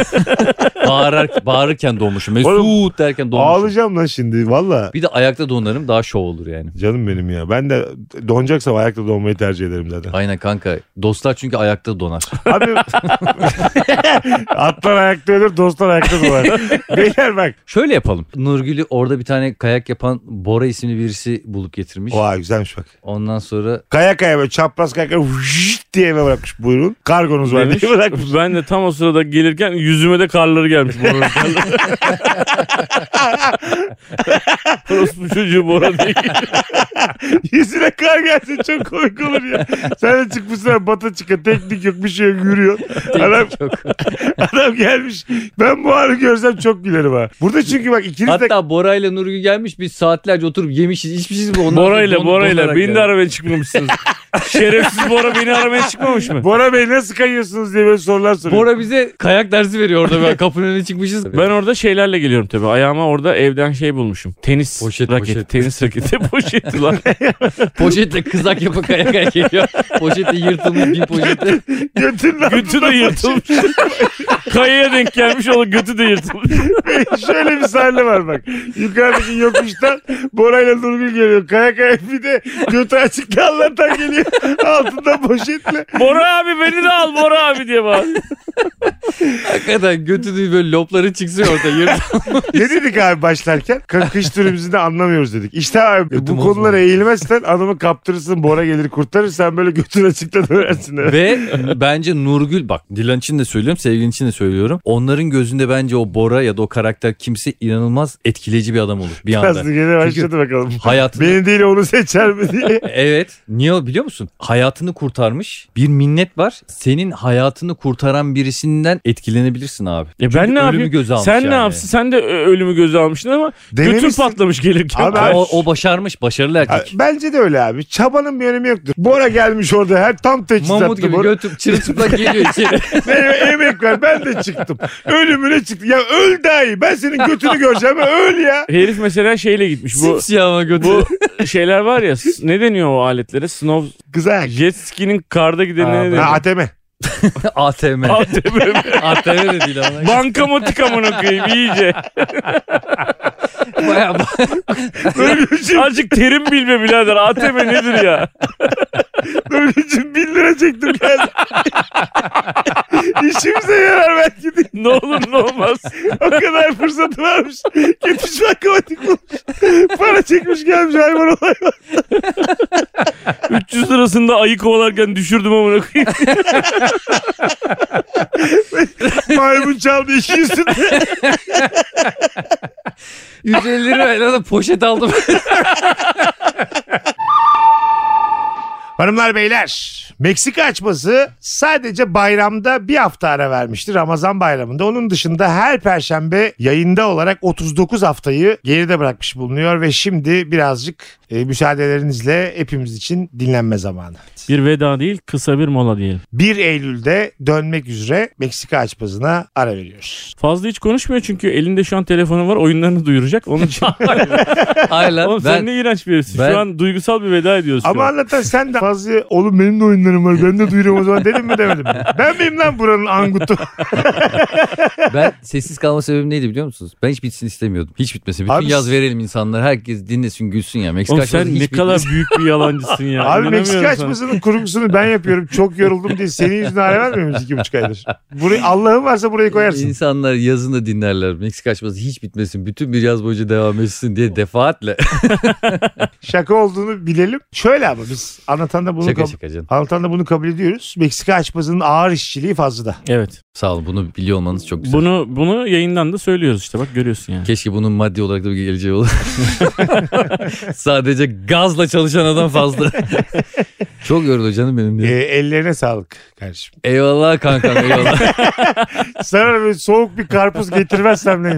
B: Bağırar, bağırırken donmuşum. Mesut
A: Oğlum,
B: derken donmuşum.
A: Ağlayacağım lan şimdi valla.
B: Bir de ayakta donarım daha şov olur yani.
A: Canım benim ya. Ben de donacaksam ayakta donmayı tercih ederim zaten.
B: Aynen kanka. Dostlar çünkü ayakta donar.
A: Abi atlar ayakta ölür dostlar ayakta dolar. Beyler bak.
B: Şöyle yapalım. Nurgül'ü orada bir tane kayak yapan Bora isimli birisi bulup getirmiş.
A: Vay güzelmiş bak.
B: Ondan sonra
A: Kaya kaya böyle çapraz kaya kaya vşşt diye eve bırakmış buyurun. Kargonuz var
C: Demiş.
A: diye bırakmış.
C: Ben de tam o sırada gelirken yüzüme de karları gelmiş. Bora'nın karları. Orospu çocuğu Bora diye.
A: Yüzüne kar gelse çok komik olur ya. Sen de çıkmışsın bata çıka teknik yok bir şey yok yürüyor. Adam,
B: yok.
A: adam gelmiş. Ben bu anı görsem çok gülerim ha. Burada çünkü bak ikiniz de
B: Hatta Bora ile Nurgül gelmiş biz saatlerce oturup yemişiz içmişiz. Ondan sonra
C: Bora ile
B: don-
C: Bora ile.
B: donarak
C: Beni de
B: yani.
C: aramaya çıkmamışsınız. Şerefsiz Bora beni aramaya çıkmamış mı?
A: Bora Bey nasıl kayıyorsunuz diye böyle sorular soruyor.
B: Bora bize kayak dersi veriyor orada. Böyle kapının önüne çıkmışız.
C: Ben orada şeylerle geliyorum tabii. Ayağıma orada evden şey bulmuşum. Tenis
B: Poşet,
C: raketi.
B: poşet.
C: Tenis raketi poşeti lan.
B: poşetle kızak yapıp kayak kayak geliyor. Poşette yırtılmış bir poşette.
A: Götünün
C: Götü de
A: altında
C: yırtılmış. Kayaya denk gelmiş oğlum götü de yırtılmış.
A: Şöyle bir sahne var bak. Yukarıdaki yokuştan Bora ile Nurgül geliyor. Kaya kaya bir de götü açık Allah'tan geliyor. Altında poşetle.
C: Bora abi beni de al Bora abi diye bağır.
B: Hakikaten götünün böyle lopları çıksın orada. Yırt.
A: Ne dedik abi başlarken? Kı- Kış türümüzü de anlamıyoruz dedik. İşte abi
B: Götüm
A: bu
B: bozma.
A: konulara eğilmezsen adamı kaptırırsın. Bora gelir kurtarır. Sen böyle götün açıkta dönersin. eve.
B: Ve bence Nurgül bak Dilan için de söylüyorum sevgilin için de söylüyorum. Onların gözünde bence o Bora ya da o karakter kimse inanılmaz etkileyici bir adam olur bir anda.
A: Nasıl gene başladı bakalım.
B: Hayatını
A: Beni değil onu seçer mi diye.
B: Evet. Niye o biliyor musun? Hayatını kurtarmış. Bir minnet var. Senin hayatını kurtaran birisinden etkilenebilirsin abi.
C: Ya E ben ne
B: ölümü
C: yapayım?
B: göze almış
C: Sen ne
B: yani.
C: yapsın? Sen de ö- ölümü göze almışsın ama götün
A: Denemişsin.
C: patlamış gelirken.
A: Abi-
B: O, o başarmış. Başarılı
A: Ha,
B: erkek.
A: Bence de öyle abi. Çabanın bir önemi yoktur. Bora gelmiş orada her tam teçhizatlı
B: Mamut gibi
A: Bora.
B: götüp çırılçıplak geliyor içeri.
A: Benim emek ver ben de çıktım. Ölümüne çıktım. Ya öl daha iyi. Ben senin götünü göreceğim. Öl ya.
C: Herif mesela şeyle gitmiş. Bu
B: Simsiyah ama götü.
C: bu şeyler var ya s- ne deniyor o aletlere? Snow
A: Güzel.
C: jet ski'nin karda gideni ne
A: Ha,
C: deniyor?
A: ATM.
B: ATM.
C: ATM.
B: ATM de değil ama.
C: Bankamatik amına koyayım iyice.
B: Bayağı
A: Nurgül'cüm,
C: Azıcık terim bilme birader. ATM nedir ya?
A: Nurgül'cüm bin lira çektim geldim. İşimize yarar belki de.
C: Ne olur ne olmaz.
A: O kadar fırsatı varmış. Gitmiş bankamatik bulmuş. Para çekmiş gelmiş hayvan olay.
C: 300 lirasında ayı kovalarken düşürdüm amına koyayım.
A: Maymun çaldı işi üstünde.
B: 150 lirayla da poşet aldım.
A: Hanımlar beyler Meksika açması sadece bayramda bir hafta ara vermişti Ramazan bayramında. Onun dışında her perşembe yayında olarak 39 haftayı geride bırakmış bulunuyor ve şimdi birazcık e, müsaadelerinizle hepimiz için dinlenme zamanı.
D: Bir veda değil kısa bir mola diyelim.
A: 1 Eylül'de dönmek üzere Meksika açmasına ara veriyoruz.
C: Fazla hiç konuşmuyor çünkü elinde şu an telefonu var oyunlarını duyuracak. Onun için.
B: Hayır lan,
C: Oğlum sen
B: ben
C: ne iğrenç birisin.
B: ben-
C: Şu an duygusal bir veda ediyorsun.
A: Ama anlatan sen de fazla oğlum benim de oyunlarım var ben de duyuruyorum o zaman dedim mi demedim mi? Ben miyim lan buranın angutu?
B: ben sessiz kalma sebebim neydi biliyor musunuz? Ben hiç bitsin istemiyordum. Hiç bitmesin. Bütün
A: Abi-
B: yaz verelim insanlara. Herkes dinlesin gülsün ya. Meksika
C: Oğlum sen
B: açması hiç
C: ne kadar
B: bitmesin.
C: büyük bir yalancısın ya.
A: Abi Meksika
C: İnanamıyorum sana.
A: açmasının kurgusunu ben yapıyorum. Çok yoruldum diye senin yüzüne ara vermiyor muyuz iki buçuk aydır? Burayı, Allah'ın varsa burayı koyarsın.
B: İnsanlar yazın da dinlerler. Meksika açması hiç bitmesin. Bütün bir yaz boyunca devam etsin diye defaatle.
A: Şaka olduğunu bilelim. Şöyle ama biz anlatan da bunu,
B: şaka
A: kab-
B: şaka canım.
A: anlatan da bunu kabul ediyoruz. Meksika açmasının ağır işçiliği fazla.
D: Evet.
B: Sağ olun bunu biliyor olmanız çok güzel.
D: Bunu bunu yayından da söylüyoruz işte bak görüyorsun yani.
B: Keşke bunun maddi olarak da bir geleceği olur. Sadece gazla çalışan adam fazla. Çok yoruldu canım benim
A: Ee,
B: diye.
A: ellerine sağlık kardeşim.
B: Eyvallah kankam eyvallah.
A: Sana böyle soğuk bir karpuz getirmezsem neyim?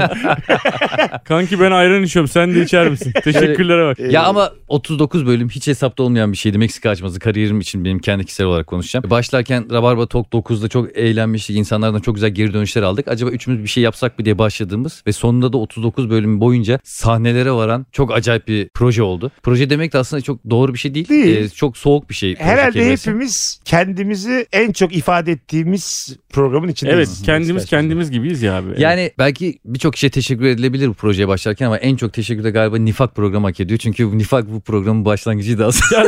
C: Kanki ben ayran içiyorum sen de içer misin? Teşekkürlere bak.
A: Ee,
B: ya ama 39 bölüm hiç hesapta olmayan bir şeydi. Meksika açması kariyerim için benim kendi kişisel olarak konuşacağım. Başlarken Rabarba Talk 9'da çok eğlenmiştik. İnsanlardan çok güzel geri dönüşler aldık. Acaba üçümüz bir şey yapsak mı diye başladığımız ve sonunda da 39 bölüm boyunca sahnelere varan çok acayip bir proje oldu. Proje demek de aslında çok doğru bir şey değil.
A: Değil.
B: Ee, çok soğuk bir şey. proje
A: Herhalde
B: kelimesi.
A: hepimiz kendimizi en çok ifade ettiğimiz programın içindeyiz.
C: Evet kendimiz kendimiz gibiyiz ya abi.
B: Yani belki birçok kişiye teşekkür edilebilir bu projeye başlarken ama en çok teşekkür de galiba Nifak programı hak ediyor. Çünkü bu Nifak bu programın başlangıcıydı aslında.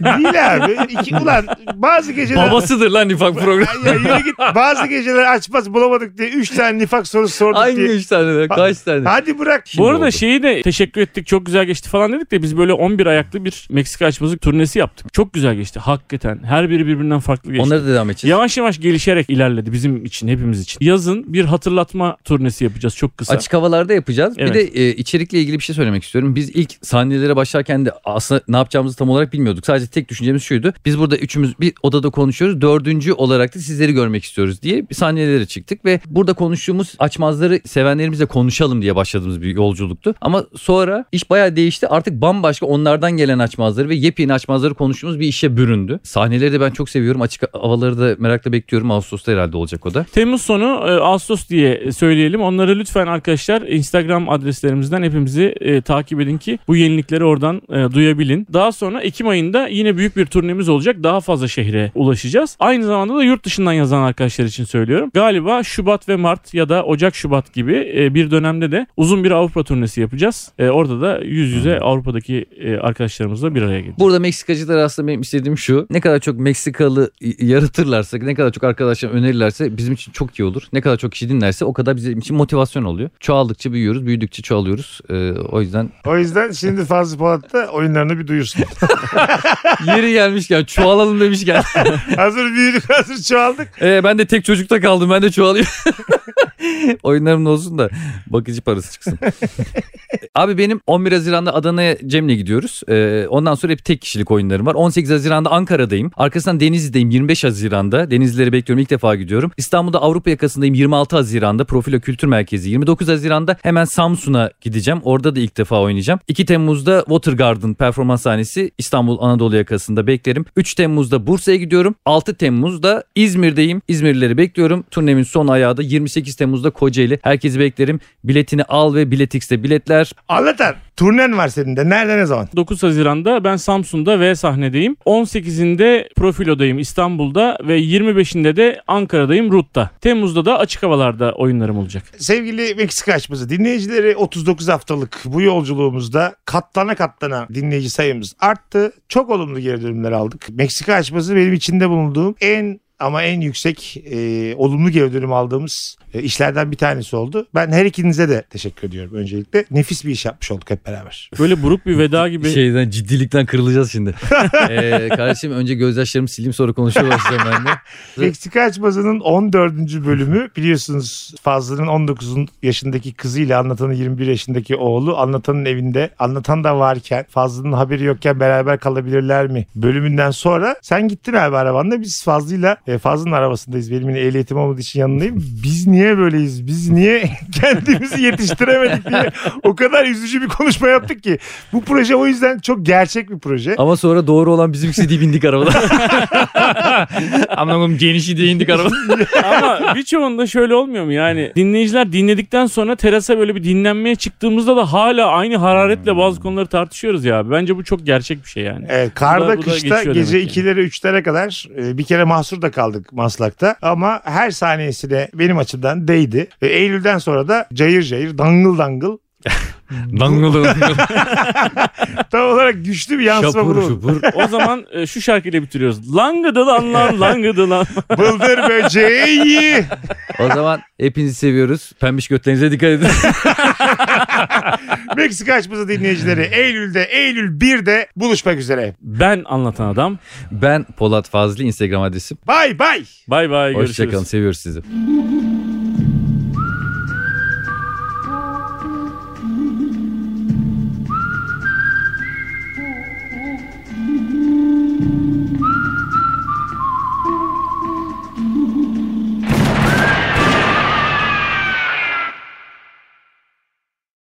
A: Değil abi. İki, ulan bazı geceler...
B: Babasıdır lan Nifak programı.
A: Ya yürü git. Bazı geceler açmaz bulamadık diye 3 tane nifak sorusu sorduk
B: Hangi
A: diye.
B: üç tane lan? Kaç tane?
A: Hadi bırak.
C: Bu arada
B: oldu.
C: şeyi de teşekkür ettik çok güzel geçti falan dedik de biz böyle 11 ayaklı bir Meksika açması turnesi yaptık. Çok güzel geçti hakikaten her biri birbirinden farklı geçti.
B: Onlara da devam edeceğiz.
C: Yavaş yavaş gelişerek ilerledi bizim için hepimiz için. Yazın bir hatırlatma turnesi yapacağız çok kısa.
B: Açık havalarda yapacağız. Bir
C: Evet.
B: de e, içerikle ilgili bir şey söylemek istiyorum. Biz ilk sahnelere başlarken de aslında ne yapacağımızı tam olarak bilmiyorduk. Sadece tek düşüncemiz şuydu. Biz burada üçümüz bir odada konuşuyoruz. Dördüncü olarak da sizleri görmek istiyoruz diye bir sahnelere çıktık ve burada konuştuğumuz açmazları sevenlerimizle konuşalım diye başladığımız bir yolculuktu. Ama sonra iş bayağı değişti. Artık bambaşka onlardan gelen açmazları ve yepyeni açmazları konuştuğumuz bir işe büründü. Sahneleri de ben çok seviyorum. Açık havaları da merakla bekliyorum. Ağustos'ta herhalde olacak o da.
C: Temmuz sonu e, Ağustos diye söyleyelim. Onları lütfen arkadaşlar Instagram adreslerimizden hepimizi e, takip edin ki bu yenilikleri oradan e, duyabilin. Daha sonra Ekim ayında yine büyük bir turnemiz olacak. Daha fazla şehre ulaşacağız. Aynı zamanda da yurt dışından yazan arkadaşlar için söylüyorum. Galiba Şubat ve Mart ya da Ocak Şubat gibi e, bir dönemde de uzun bir Avrupa turnesi yapacağız. E, Orada da yüz yüze Avrupa'daki e, arkadaşlarımızla bir araya geleceğiz.
B: Burada Meksikacılar aslında benim istediğim şu. Ne kadar çok Meksikalı y- yaratırlarsa, ne kadar çok arkadaşlar önerirlerse bizim için çok iyi olur. Ne kadar çok kişi dinlerse o kadar bizim için motivasyon oluyor. Çoğaldıkça büyüyoruz, büyüdükçe çoğalıyoruz. Ee, o yüzden
A: O yüzden şimdi Fazlı Polat da oyunlarını bir duyursun.
B: yeri gelmişken çoğalalım demişken.
A: hazır büyüdük hazır çoğaldık.
B: Ee, ben de tek çocukta kaldım, ben de çoğalıyorum. Oyunlarım da olsun da bakıcı parası çıksın. Abi benim 11 Haziran'da Adana'ya Cem'le gidiyoruz. Ee, ondan sonra hep tek kişilik oyunlarım var. 18 Haziran'da Ankara'dayım. Arkasından Denizli'deyim 25 Haziran'da. Denizlileri bekliyorum ilk defa gidiyorum. İstanbul'da Avrupa yakasındayım 26 Haziran'da. Profilo Kültür Merkezi 29 Haziran'da hemen Samsun'a gideceğim. Orada da ilk defa oynayacağım. 2 Temmuz'da Water Garden performans sahnesi İstanbul Anadolu yakasında beklerim. 3 Temmuz'da Bursa'ya gidiyorum. 6 Temmuz'da İzmir'deyim. İzmirlileri bekliyorum. Turnemin son ayağı da 28 Temmuz'da Kocaeli. Herkesi beklerim. Biletini al ve Biletix'te biletler.
A: Anlatan turnen var senin de. Nerede ne zaman?
C: 9 Haziran'da ben Samsun'da V sahnedeyim. 18'inde Profilo'dayım İstanbul'da ve 25'inde de Ankara'dayım RUT'ta. Temmuz'da da açık havalarda oyunlarım olacak.
A: Sevgili Meksika açması dinleyicileri 39 haftalık bu yolculuğumuzda katlana katlana dinleyici sayımız arttı. Çok olumlu geri dönümler aldık. Meksika açması benim içinde bulunduğum en ama en yüksek e, olumlu geri dönüm aldığımız e, işlerden bir tanesi oldu. Ben her ikinize de teşekkür ediyorum öncelikle. Nefis bir iş yapmış olduk hep beraber.
C: Böyle buruk bir veda gibi.
B: Şeyden ciddilikten kırılacağız şimdi. ee, kardeşim önce gözyaşlarımı sileyim sonra konuşmaya başlayacağım ben de. Evet.
A: Meksika Açmazı'nın 14. bölümü biliyorsunuz Fazlı'nın 19 yaşındaki kızıyla anlatanın 21 yaşındaki oğlu anlatanın evinde anlatan da varken Fazlı'nın haberi yokken beraber kalabilirler mi bölümünden sonra sen gittin abi arabanla biz Fazlı'yla e, Fazlı'nın arabasındayız benim yine ehliyetim olmadığı için yanındayım biz niye böyleyiz biz niye kendimizi yetiştiremedik diye o kadar üzücü bir konuşma yaptık ki bu proje o yüzden çok gerçek bir proje
B: Ama sonra doğru olan bizim istediği bindik arabada. Anlamam genişi diye indik arabada.
E: Ama
C: Birçoğunda şöyle olmuyor mu yani dinleyiciler dinledikten sonra terasa böyle bir dinlenmeye çıktığımızda da hala aynı hararetle bazı konuları tartışıyoruz ya abi. Bence bu çok gerçek bir şey yani.
A: Evet, karda
C: Bu da- bu
A: E,
C: da
A: kışta
C: geçiyor
A: gece
C: demek ki.
A: 2'lere 3'lere kadar e, bir kere mahsur da kaldık Maslak'ta ama her saniyesi de benim açımdan değdi. E, Eylül'den sonra da cayır cayır dangıl dangıl
B: Dangıl dangıl.
A: tam olarak güçlü bir yansıma
B: Şapur
A: bulundu.
B: şupur.
C: O zaman e, şu şarkıyla bitiriyoruz. Langıdı lan lan langıdı lan.
A: Bıldır böceği.
B: O zaman hepinizi seviyoruz. Pembiş götlerinize dikkat edin.
A: Meksika açması dinleyicileri Eylül'de Eylül 1'de buluşmak üzere.
C: Ben anlatan adam.
B: Ben Polat Fazlı Instagram adresim.
A: Bay bay.
C: Bay bay görüşürüz.
B: Hoşçakalın seviyoruz sizi.